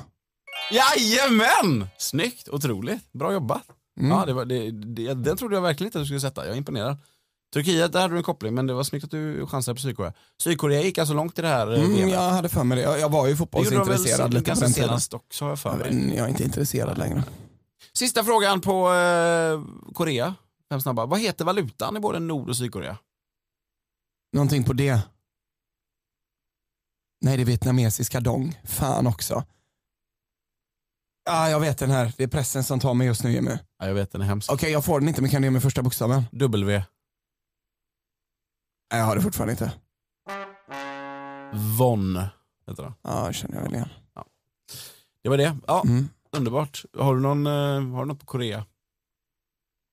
Speaker 1: Jajamän! Snyggt, otroligt. Bra jobbat.
Speaker 2: Mm.
Speaker 1: Ja, det var, det, det, den trodde jag verkligen inte att du skulle sätta. Jag är imponerad. Turkiet, där hade du en koppling, men det var snyggt att du chansade på Sydkorea. Sydkorea gick alltså långt i det här eh,
Speaker 2: Mm,
Speaker 1: VMet.
Speaker 2: jag hade för mig det. Jag, jag var ju
Speaker 1: Det gjorde de väl
Speaker 2: fotbollsintresserad lite på
Speaker 1: ganska
Speaker 2: den tiden.
Speaker 1: senast också har jag för
Speaker 2: Jag,
Speaker 1: mig.
Speaker 2: vet- jag är inte intresserad längre.
Speaker 1: Sista frågan på eh, Korea. Fem snabba. Vad heter valutan i både Nord och Sydkorea?
Speaker 2: Någonting på det. Nej, det är vietnamesiska dong. Fan också. Ah, jag vet den här. Det är pressen som tar mig just nu Jimmy. Okej,
Speaker 1: Ja, jag vet, den är hemsk.
Speaker 2: jag får den inte men kan du ge mig första bokstaven?
Speaker 1: W.
Speaker 2: Nej, jag har det fortfarande inte.
Speaker 1: Von. Heter den.
Speaker 2: Ja, det känner jag väl igen.
Speaker 1: Det var det. Ja,
Speaker 2: Mm.
Speaker 1: underbart. Har du, någon, eh, har du något på Korea?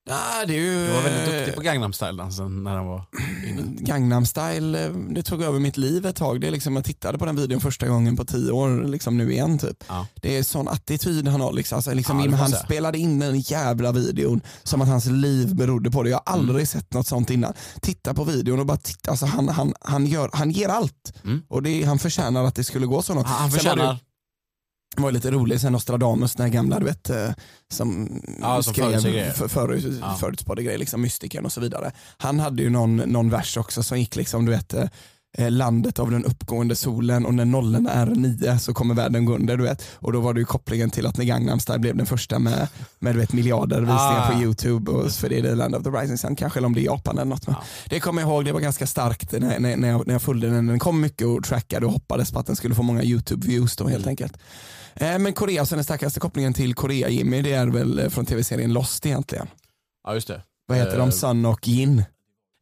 Speaker 2: Ja, det är ju...
Speaker 1: Du var väldigt duktig på Gangnam Style-dansen när den var inne.
Speaker 2: Gangnam style, eh, det tog över mitt liv ett tag. Det är liksom, jag tittade på den videon första gången på tio år, liksom nu igen typ.
Speaker 1: Ja.
Speaker 2: Det är sån attityd han har. Liksom. Alltså,
Speaker 1: Ja,
Speaker 2: liksom,
Speaker 1: det
Speaker 2: Jim,
Speaker 1: får jag
Speaker 2: han
Speaker 1: säga.
Speaker 2: spelade in den jävla videon som att hans liv berodde på det. Jag har
Speaker 1: Mm.
Speaker 2: aldrig sett något sånt innan. Titta på videon och bara titta. Alltså, han, han, han, gör, han ger allt.
Speaker 1: Mm.
Speaker 2: Och det, är- han förtjänar att det skulle gå så långt.
Speaker 1: Ah, Han
Speaker 2: Sen var det ju-
Speaker 1: förtjänar
Speaker 2: Det var ju lite rolig sen Nostradamus, den här gamla du vet eh, som
Speaker 1: Ja, som förutsäger grejer.
Speaker 2: för, förut,
Speaker 1: Ja.
Speaker 2: förutspådde grejer, liksom mystiken och så vidare. Han hade ju någon, någon vers också som gick liksom du vet eh, eh, landet av den uppgående solen och när nollen är nio så kommer världen gå under du vet. Och då var det ju kopplingen till att när Gangnam style blev den första med, med du vet, miljarder visningar
Speaker 1: Ah.
Speaker 2: på youtube och för det är det land of the rising sun kanske eller om det är Japan eller något. Men
Speaker 1: Ja.
Speaker 2: Det kommer jag ihåg, det var ganska starkt när, när, när, jag, när jag följde den. Den kom mycket och trackade och hoppades på att den skulle få många youtube views då helt enkelt. Eh, Men Korea, sen den starkaste kopplingen till Korea Jimmy, det är väl eh, från tv-serien Lost egentligen.
Speaker 1: Ja, just det.
Speaker 2: Vad heter
Speaker 1: Eh,
Speaker 2: de? Sun och Jin.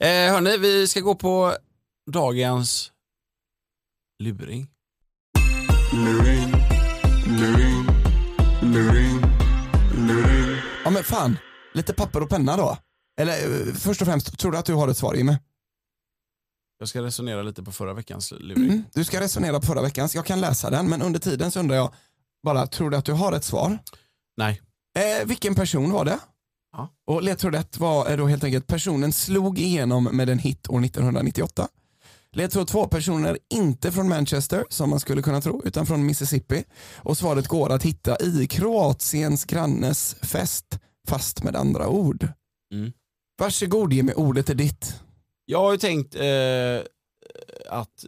Speaker 1: Eh, hörni, vi ska gå på dagens luring.
Speaker 3: luring, luring, luring, luring.
Speaker 2: Ja men fan, lite papper och penna då. Eller eh, först och främst, tror du att du har ett svar Jimmy?
Speaker 1: Jag ska resonera lite på förra veckans luring.
Speaker 2: Mm. Du ska resonera på förra veckans, jag kan läsa den men under tiden så undrar jag bara, tror du att du har ett svar?
Speaker 1: Nej.
Speaker 2: Eh, vilken person var det?
Speaker 1: Ja.
Speaker 2: Och ledtråd ett var eh, då helt enkelt personen slog igenom med en hit år 1998. Ledtråd två, personen är inte från Manchester som man skulle kunna tro utan från Mississippi. Och svaret går att hitta i Kroatiens grannes fest fast med andra ord.
Speaker 1: Mm.
Speaker 2: Varsågod Jimmy, ordet är ditt.
Speaker 1: Jag har ju tänkt eh, att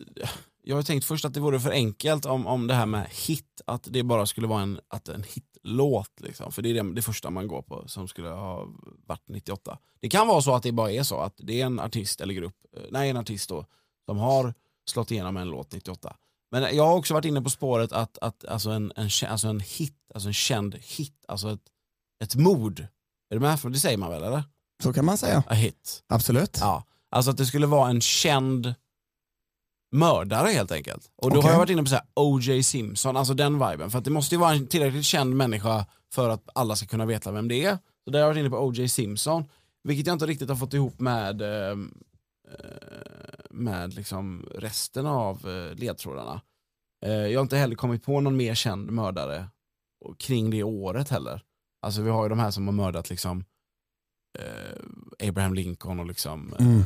Speaker 1: jag har ju tänkt först att det vore för enkelt om, om det här med hit, att det bara skulle vara en, att en hitlåt. Liksom. För det är det, det första man går på som skulle ha varit 98. Det kan vara så att det bara är så att det är en artist eller grupp, eh, nej en artist då, som har slått igenom en låt 98. Men jag har också varit inne på spåret att, att alltså en, en, kä- alltså en hit, alltså en känd hit, alltså ett, ett mord. Är du med? För det säger man väl eller?
Speaker 2: Så kan man säga.
Speaker 1: A hit.
Speaker 2: Absolut.
Speaker 1: Ja. Alltså att det skulle vara en känd mördare helt enkelt. Och då
Speaker 2: Okej.
Speaker 1: har jag varit inne på så här O.J. Simpson, alltså den viben. För att det måste ju vara en tillräckligt känd människa för att alla ska kunna veta vem det är. Så där har jag varit inne på O.J. Simpson, vilket jag inte riktigt har fått ihop med eh, eh, med liksom resten av eh, ledtrådarna. Eh, Jag har inte heller kommit på någon mer känd mördare och kring det året heller. Alltså vi har ju de här som har mördat liksom eh, Abraham Lincoln och liksom eh,
Speaker 2: Mm.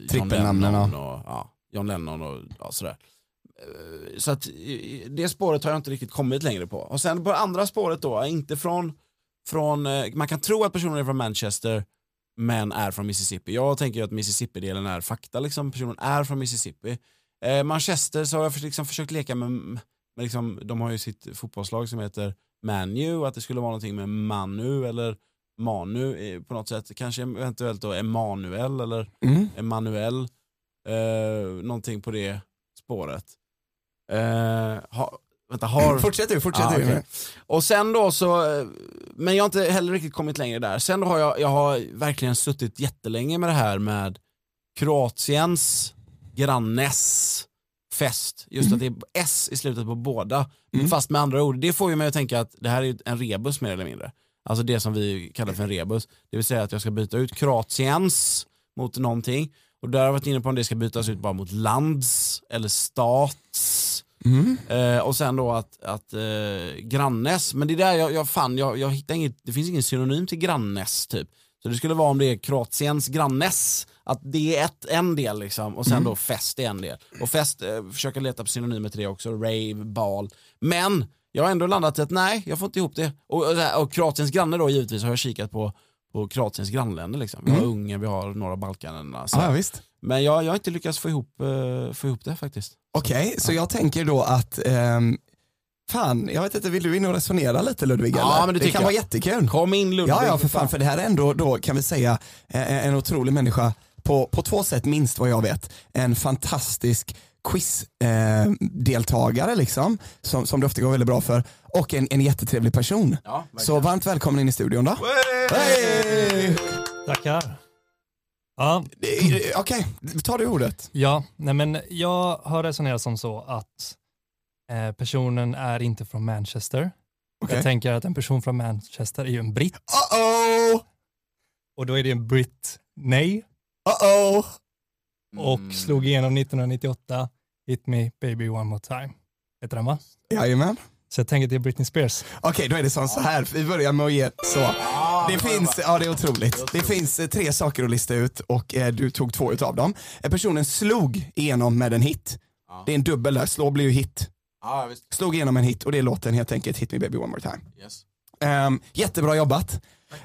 Speaker 1: John
Speaker 2: Trippelnamnen,
Speaker 1: Lennon och ja, John Lennon och ja, sådär. Eh, Så att eh, det spåret har jag inte riktigt kommit längre på. Och sen på andra spåret då, inte från, från eh, man kan tro att personen är från Manchester men är från Mississippi. Jag tänker ju att Mississippi-delen är fakta, liksom. personen är från Mississippi. Eh, Manchester så har jag för- liksom försökt leka med, med liksom, de har ju sitt fotbollslag som heter Manu, att det skulle vara någonting med Manu eller Manu eh, på något sätt, kanske eventuellt då Emanuel eller
Speaker 2: Mm.
Speaker 1: Emanuel, eh, någonting på det spåret. Eh, ha, vänta, har...
Speaker 2: Fortsätt du, fortsätt
Speaker 1: Ja,
Speaker 2: du.
Speaker 1: okej. Och sen då så, eh, men jag har inte heller riktigt kommit längre där. Sen då har jag, jag har verkligen suttit jättelänge med det här med Kroatiens grannes fest. Just att det är S i slutet på båda.
Speaker 2: Mm.
Speaker 1: Fast med andra ord, det får ju mig att tänka att det här är ju en rebus mer eller mindre. Alltså det som vi kallar för en rebus. Det vill säga att jag ska byta ut Kroatiens mot någonting. Och där har jag varit inne på om det ska bytas ut bara mot lands eller stats.
Speaker 2: Mm.
Speaker 1: Eh, och sen då att, att eh, grannes, men det är där jag, jag fann, jag, jag hittar inget, det finns ingen synonym till grannes typ. Så det skulle vara om det är Kroatiens grannes, att det är ett, en del liksom och sen
Speaker 2: Mm.
Speaker 1: då fest är en del. Och fest, eh, försöker leta på synonymer till det också, rave, bal. Men jag har ändå landat i att nej, jag får inte ihop det. Och, och, det här- och Kroatiens granne då givetvis har jag kikat på, på Kroatiens grannländer liksom. Vi har Ungern, vi har norra Balkanerna. Så.
Speaker 2: Mm. Ah, Ja, ja, visst.
Speaker 1: Men jag, jag har inte lyckats få ihop, eh, få ihop det faktiskt.
Speaker 2: Okej, så jag tänker då att ehm, Fan, jag vet inte, vill du in och resonera lite Ludvig?
Speaker 1: Ja,
Speaker 2: eller?
Speaker 1: men det
Speaker 2: det
Speaker 1: tycker
Speaker 2: kan
Speaker 1: jag.
Speaker 2: vara jättekul.
Speaker 1: Kom in Ludvig.
Speaker 2: Ja, ja för fan, för det här är ändå då kan vi säga eh, en otrolig människa på, på två sätt minst vad jag vet. En fantastisk quizdeltagare eh, deltagare, liksom, som, som du ofta går väldigt bra för och en, en jättetrevlig person.
Speaker 1: Ja,
Speaker 2: Så varmt välkommen in i studion då. Hej!
Speaker 4: Tackar. Ja,
Speaker 2: Eh, Okej, tar du ordet.
Speaker 4: ja nej men jag har resonerat som så att eh, personen är inte från Manchester.
Speaker 2: Okej.
Speaker 4: Jag tänker att en person från Manchester är ju en britt
Speaker 2: Uh-oh!
Speaker 4: och då är det en britt nej
Speaker 2: Uh-oh!
Speaker 4: och slog igenom 1998, Hit me baby one more time. Heter den va?
Speaker 2: Jajamän.
Speaker 4: Så jag tänker att det är Britney Spears.
Speaker 2: Okej, då är det som så här. Vi börjar med att ge så.
Speaker 1: Ah,
Speaker 2: Det finns, ja det är otroligt. Det finns eh, tre saker att lista ut och eh, du tog två utav dem. Eh, Personen slog igenom med en hit.
Speaker 1: Ja.
Speaker 2: Det är en dubbel där, slå blir ju hit.
Speaker 1: Ja, visst.
Speaker 2: Slog igenom en hit och det är låten helt enkelt Hit Me Baby One More Time.
Speaker 1: Yes.
Speaker 2: Ehm, jättebra jobbat.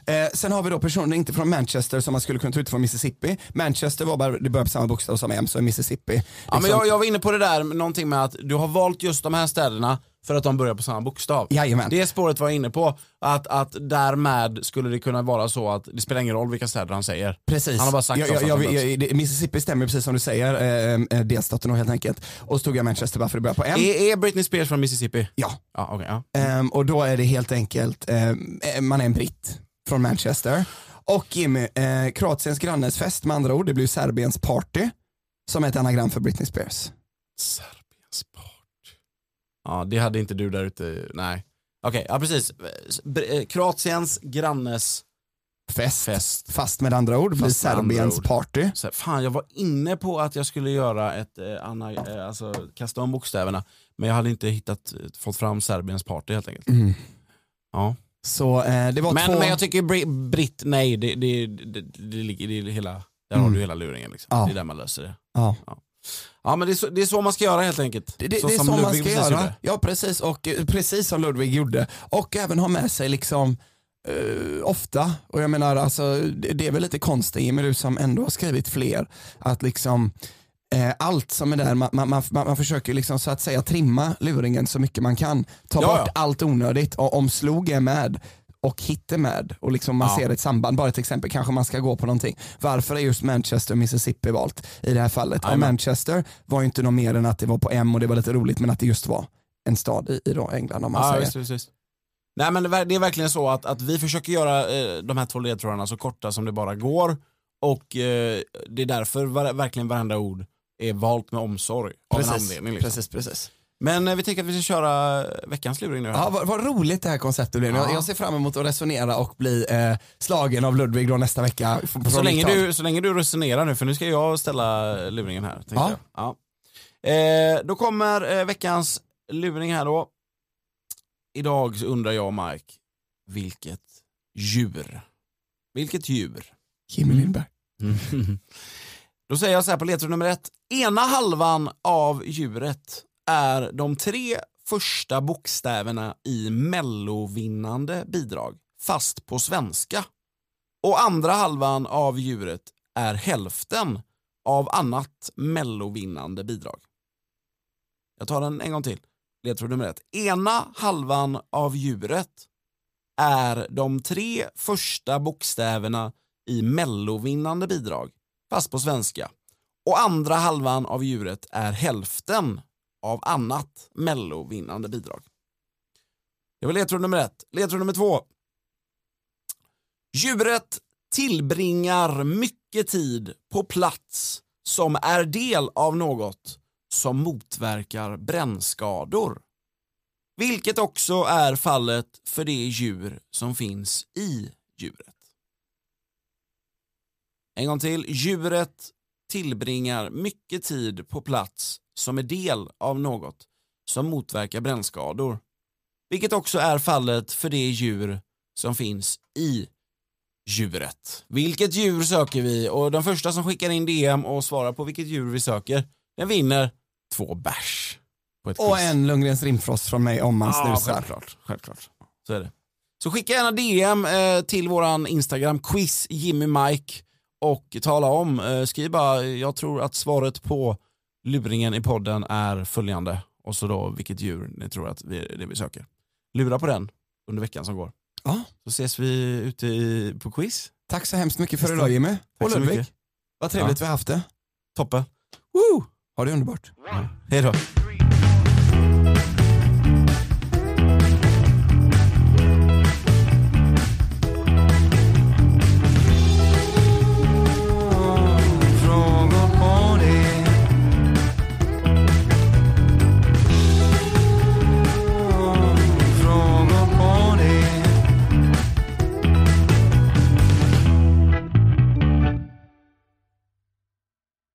Speaker 2: Eh, sen har vi då personer inte från Manchester som man skulle kunna ta ut från Mississippi. Manchester var bara, det börjar på samma bokstav som M, så Mississippi.
Speaker 1: Ja, men
Speaker 2: Liksom-
Speaker 1: jag, jag var inne på det där, med någonting med att du har valt just de här städerna för att de börjar på samma bokstav.
Speaker 2: Jajamän.
Speaker 1: Det spåret var jag inne på, att, att därmed skulle det kunna vara så att det spelar ingen roll vilka städer han säger.
Speaker 2: Precis.
Speaker 1: Han har bara sagt
Speaker 2: jag,
Speaker 1: så
Speaker 2: jag,
Speaker 1: att
Speaker 2: jag,
Speaker 1: de
Speaker 2: jag, det- Mississippi stämmer precis som du säger, eh, eh, delstaten då helt enkelt. Och så tog jag Manchester bara för att börja på M.
Speaker 1: Är, är Britney Spears från Mississippi?
Speaker 2: Mm. ja.
Speaker 1: Ja, okej. ja.
Speaker 2: Ehm, och då är det helt enkelt, ehm, eh, man är en britt från Manchester. Och Jimmy, eh, Kroatiens grannes fest med andra ord, det blir ju Serbiens party som är ett anagram för Britney Spears.
Speaker 1: Serbiens part. Ja, det hade inte du där ute, nej. Okej, ja precis. Br- eh, Kroatiens grannes
Speaker 2: Fest.
Speaker 1: fest.
Speaker 2: Fast med andra ord blir
Speaker 1: Fast med andra
Speaker 2: Serbiens
Speaker 1: ord.
Speaker 2: party.
Speaker 1: Så här, fan, jag var inne på att jag skulle göra ett, eh, anna, eh, alltså kasta om bokstäverna, men jag hade inte hittat, eh, fått fram Serbiens party helt enkelt. Ja.
Speaker 2: Så eh, det var
Speaker 1: Mm. Men,
Speaker 2: två...
Speaker 1: men jag tycker bri, Britt, nej, det, det, det, det ligger det är hela, där har
Speaker 2: Mm.
Speaker 1: du hela luringen liksom.
Speaker 2: Ja.
Speaker 1: Det är där man löser det.
Speaker 2: ja.
Speaker 1: Ja men det är så, det är så man ska göra helt enkelt.
Speaker 2: Det, det, det är så, man
Speaker 1: Ludvig
Speaker 2: ska
Speaker 1: precis
Speaker 2: göra.
Speaker 1: gjorde.
Speaker 2: Ja, precis. Och eh, precis som Ludvig gjorde. Och även ha med sig liksom eh, ofta, och jag menar alltså det, det är väl lite konstigt Jimmy du som ändå har skrivit fler, att liksom eh, allt som är där, man, man, man, man försöker liksom så att säga trimma luringen så mycket man kan. Ta
Speaker 1: Ja,
Speaker 2: bort
Speaker 1: ja.
Speaker 2: allt onödigt och om slog är med och hit är med och liksom man
Speaker 1: Ja.
Speaker 2: ser ett samband, bara ett exempel, kanske man ska gå på någonting. Varför är just Manchester och Mississippi valt i det här fallet? Och
Speaker 1: Jajamän.
Speaker 2: Manchester var ju inte något mer än att det var på M och det var lite roligt men att det just var en stad i, i då England om man
Speaker 1: Ja,
Speaker 2: säger.
Speaker 1: visst, visst, visst. Nej men det ver- det är verkligen så att, att vi försöker göra eh, de här två ledtrådarna så korta som det bara går och eh, det är därför var, verkligen varenda ord är valt med omsorg av en anledning. Liksom.
Speaker 2: precis, precis.
Speaker 1: Men eh, vi tänker att vi ska köra eh, veckans luring nu.
Speaker 2: Ja, vad, vad roligt det här konceptet blev. Jag,
Speaker 1: Ja.
Speaker 2: jag ser fram emot att resonera och bli eh, slagen av Ludvig då nästa vecka. f-
Speaker 1: så,
Speaker 2: från
Speaker 1: länge
Speaker 2: mitt håll.
Speaker 1: du, så länge du resonerar nu för nu ska jag ställa eh, luringen här. tänkte
Speaker 2: Ja.
Speaker 1: Jag. Ja. Eh, då kommer eh, veckans luring här då. Idag så undrar jag Mike, vilket djur? Vilket djur?
Speaker 2: Jimmy
Speaker 1: Mm.
Speaker 2: Lindberg.
Speaker 1: Då säger jag så här på ledtråd nummer ett. Ena halvan av djuret är de tre första bokstäverna i mellovinnande bidrag, fast på svenska. Och andra halvan av djuret är hälften av annat mellovinnande bidrag. Jag tar den en gång till. Ledtråd nummer ett. Ena halvan av djuret är de tre första bokstäverna i mellovinnande bidrag, fast på svenska. Och andra halvan av djuret är hälften av annat mellovinnande bidrag. Det var ledtråd nummer ett. Ledtråd nummer två. Djuret tillbringar mycket tid på plats som är del av något som motverkar brännskador. Vilket också är fallet för det djur som finns i djuret. En gång till. Djuret tillbringar mycket tid på plats som är del av något som motverkar brännskador. Vilket också är fallet för det djur som finns i djuret. Vilket djur söker vi? Och den första som skickar in DM och svarar på vilket djur vi söker, den vinner två bärs. på ett
Speaker 2: Och
Speaker 1: quiz.
Speaker 2: en Lundgrens rimfrost från mig om man snusar.
Speaker 1: Självklart, självklart. Så är det. Så skicka gärna DM eh, till våran Instagram, quiz Jimmy Mike och tala om, eh, skriv bara, jag tror att svaret på luringen i podden är följande och så då vilket djur ni tror att vi, det vi söker. Lura på den under veckan som går.
Speaker 2: Ja.
Speaker 1: Så ses vi ute i, på quiz.
Speaker 2: Tack så hemskt mycket för idag Jimmy. Och
Speaker 1: så
Speaker 2: Ludvig.
Speaker 1: mycket.
Speaker 2: Vad trevligt vi har haft det.
Speaker 1: Toppen.
Speaker 2: Woo! Ha det underbart.
Speaker 1: Hej då.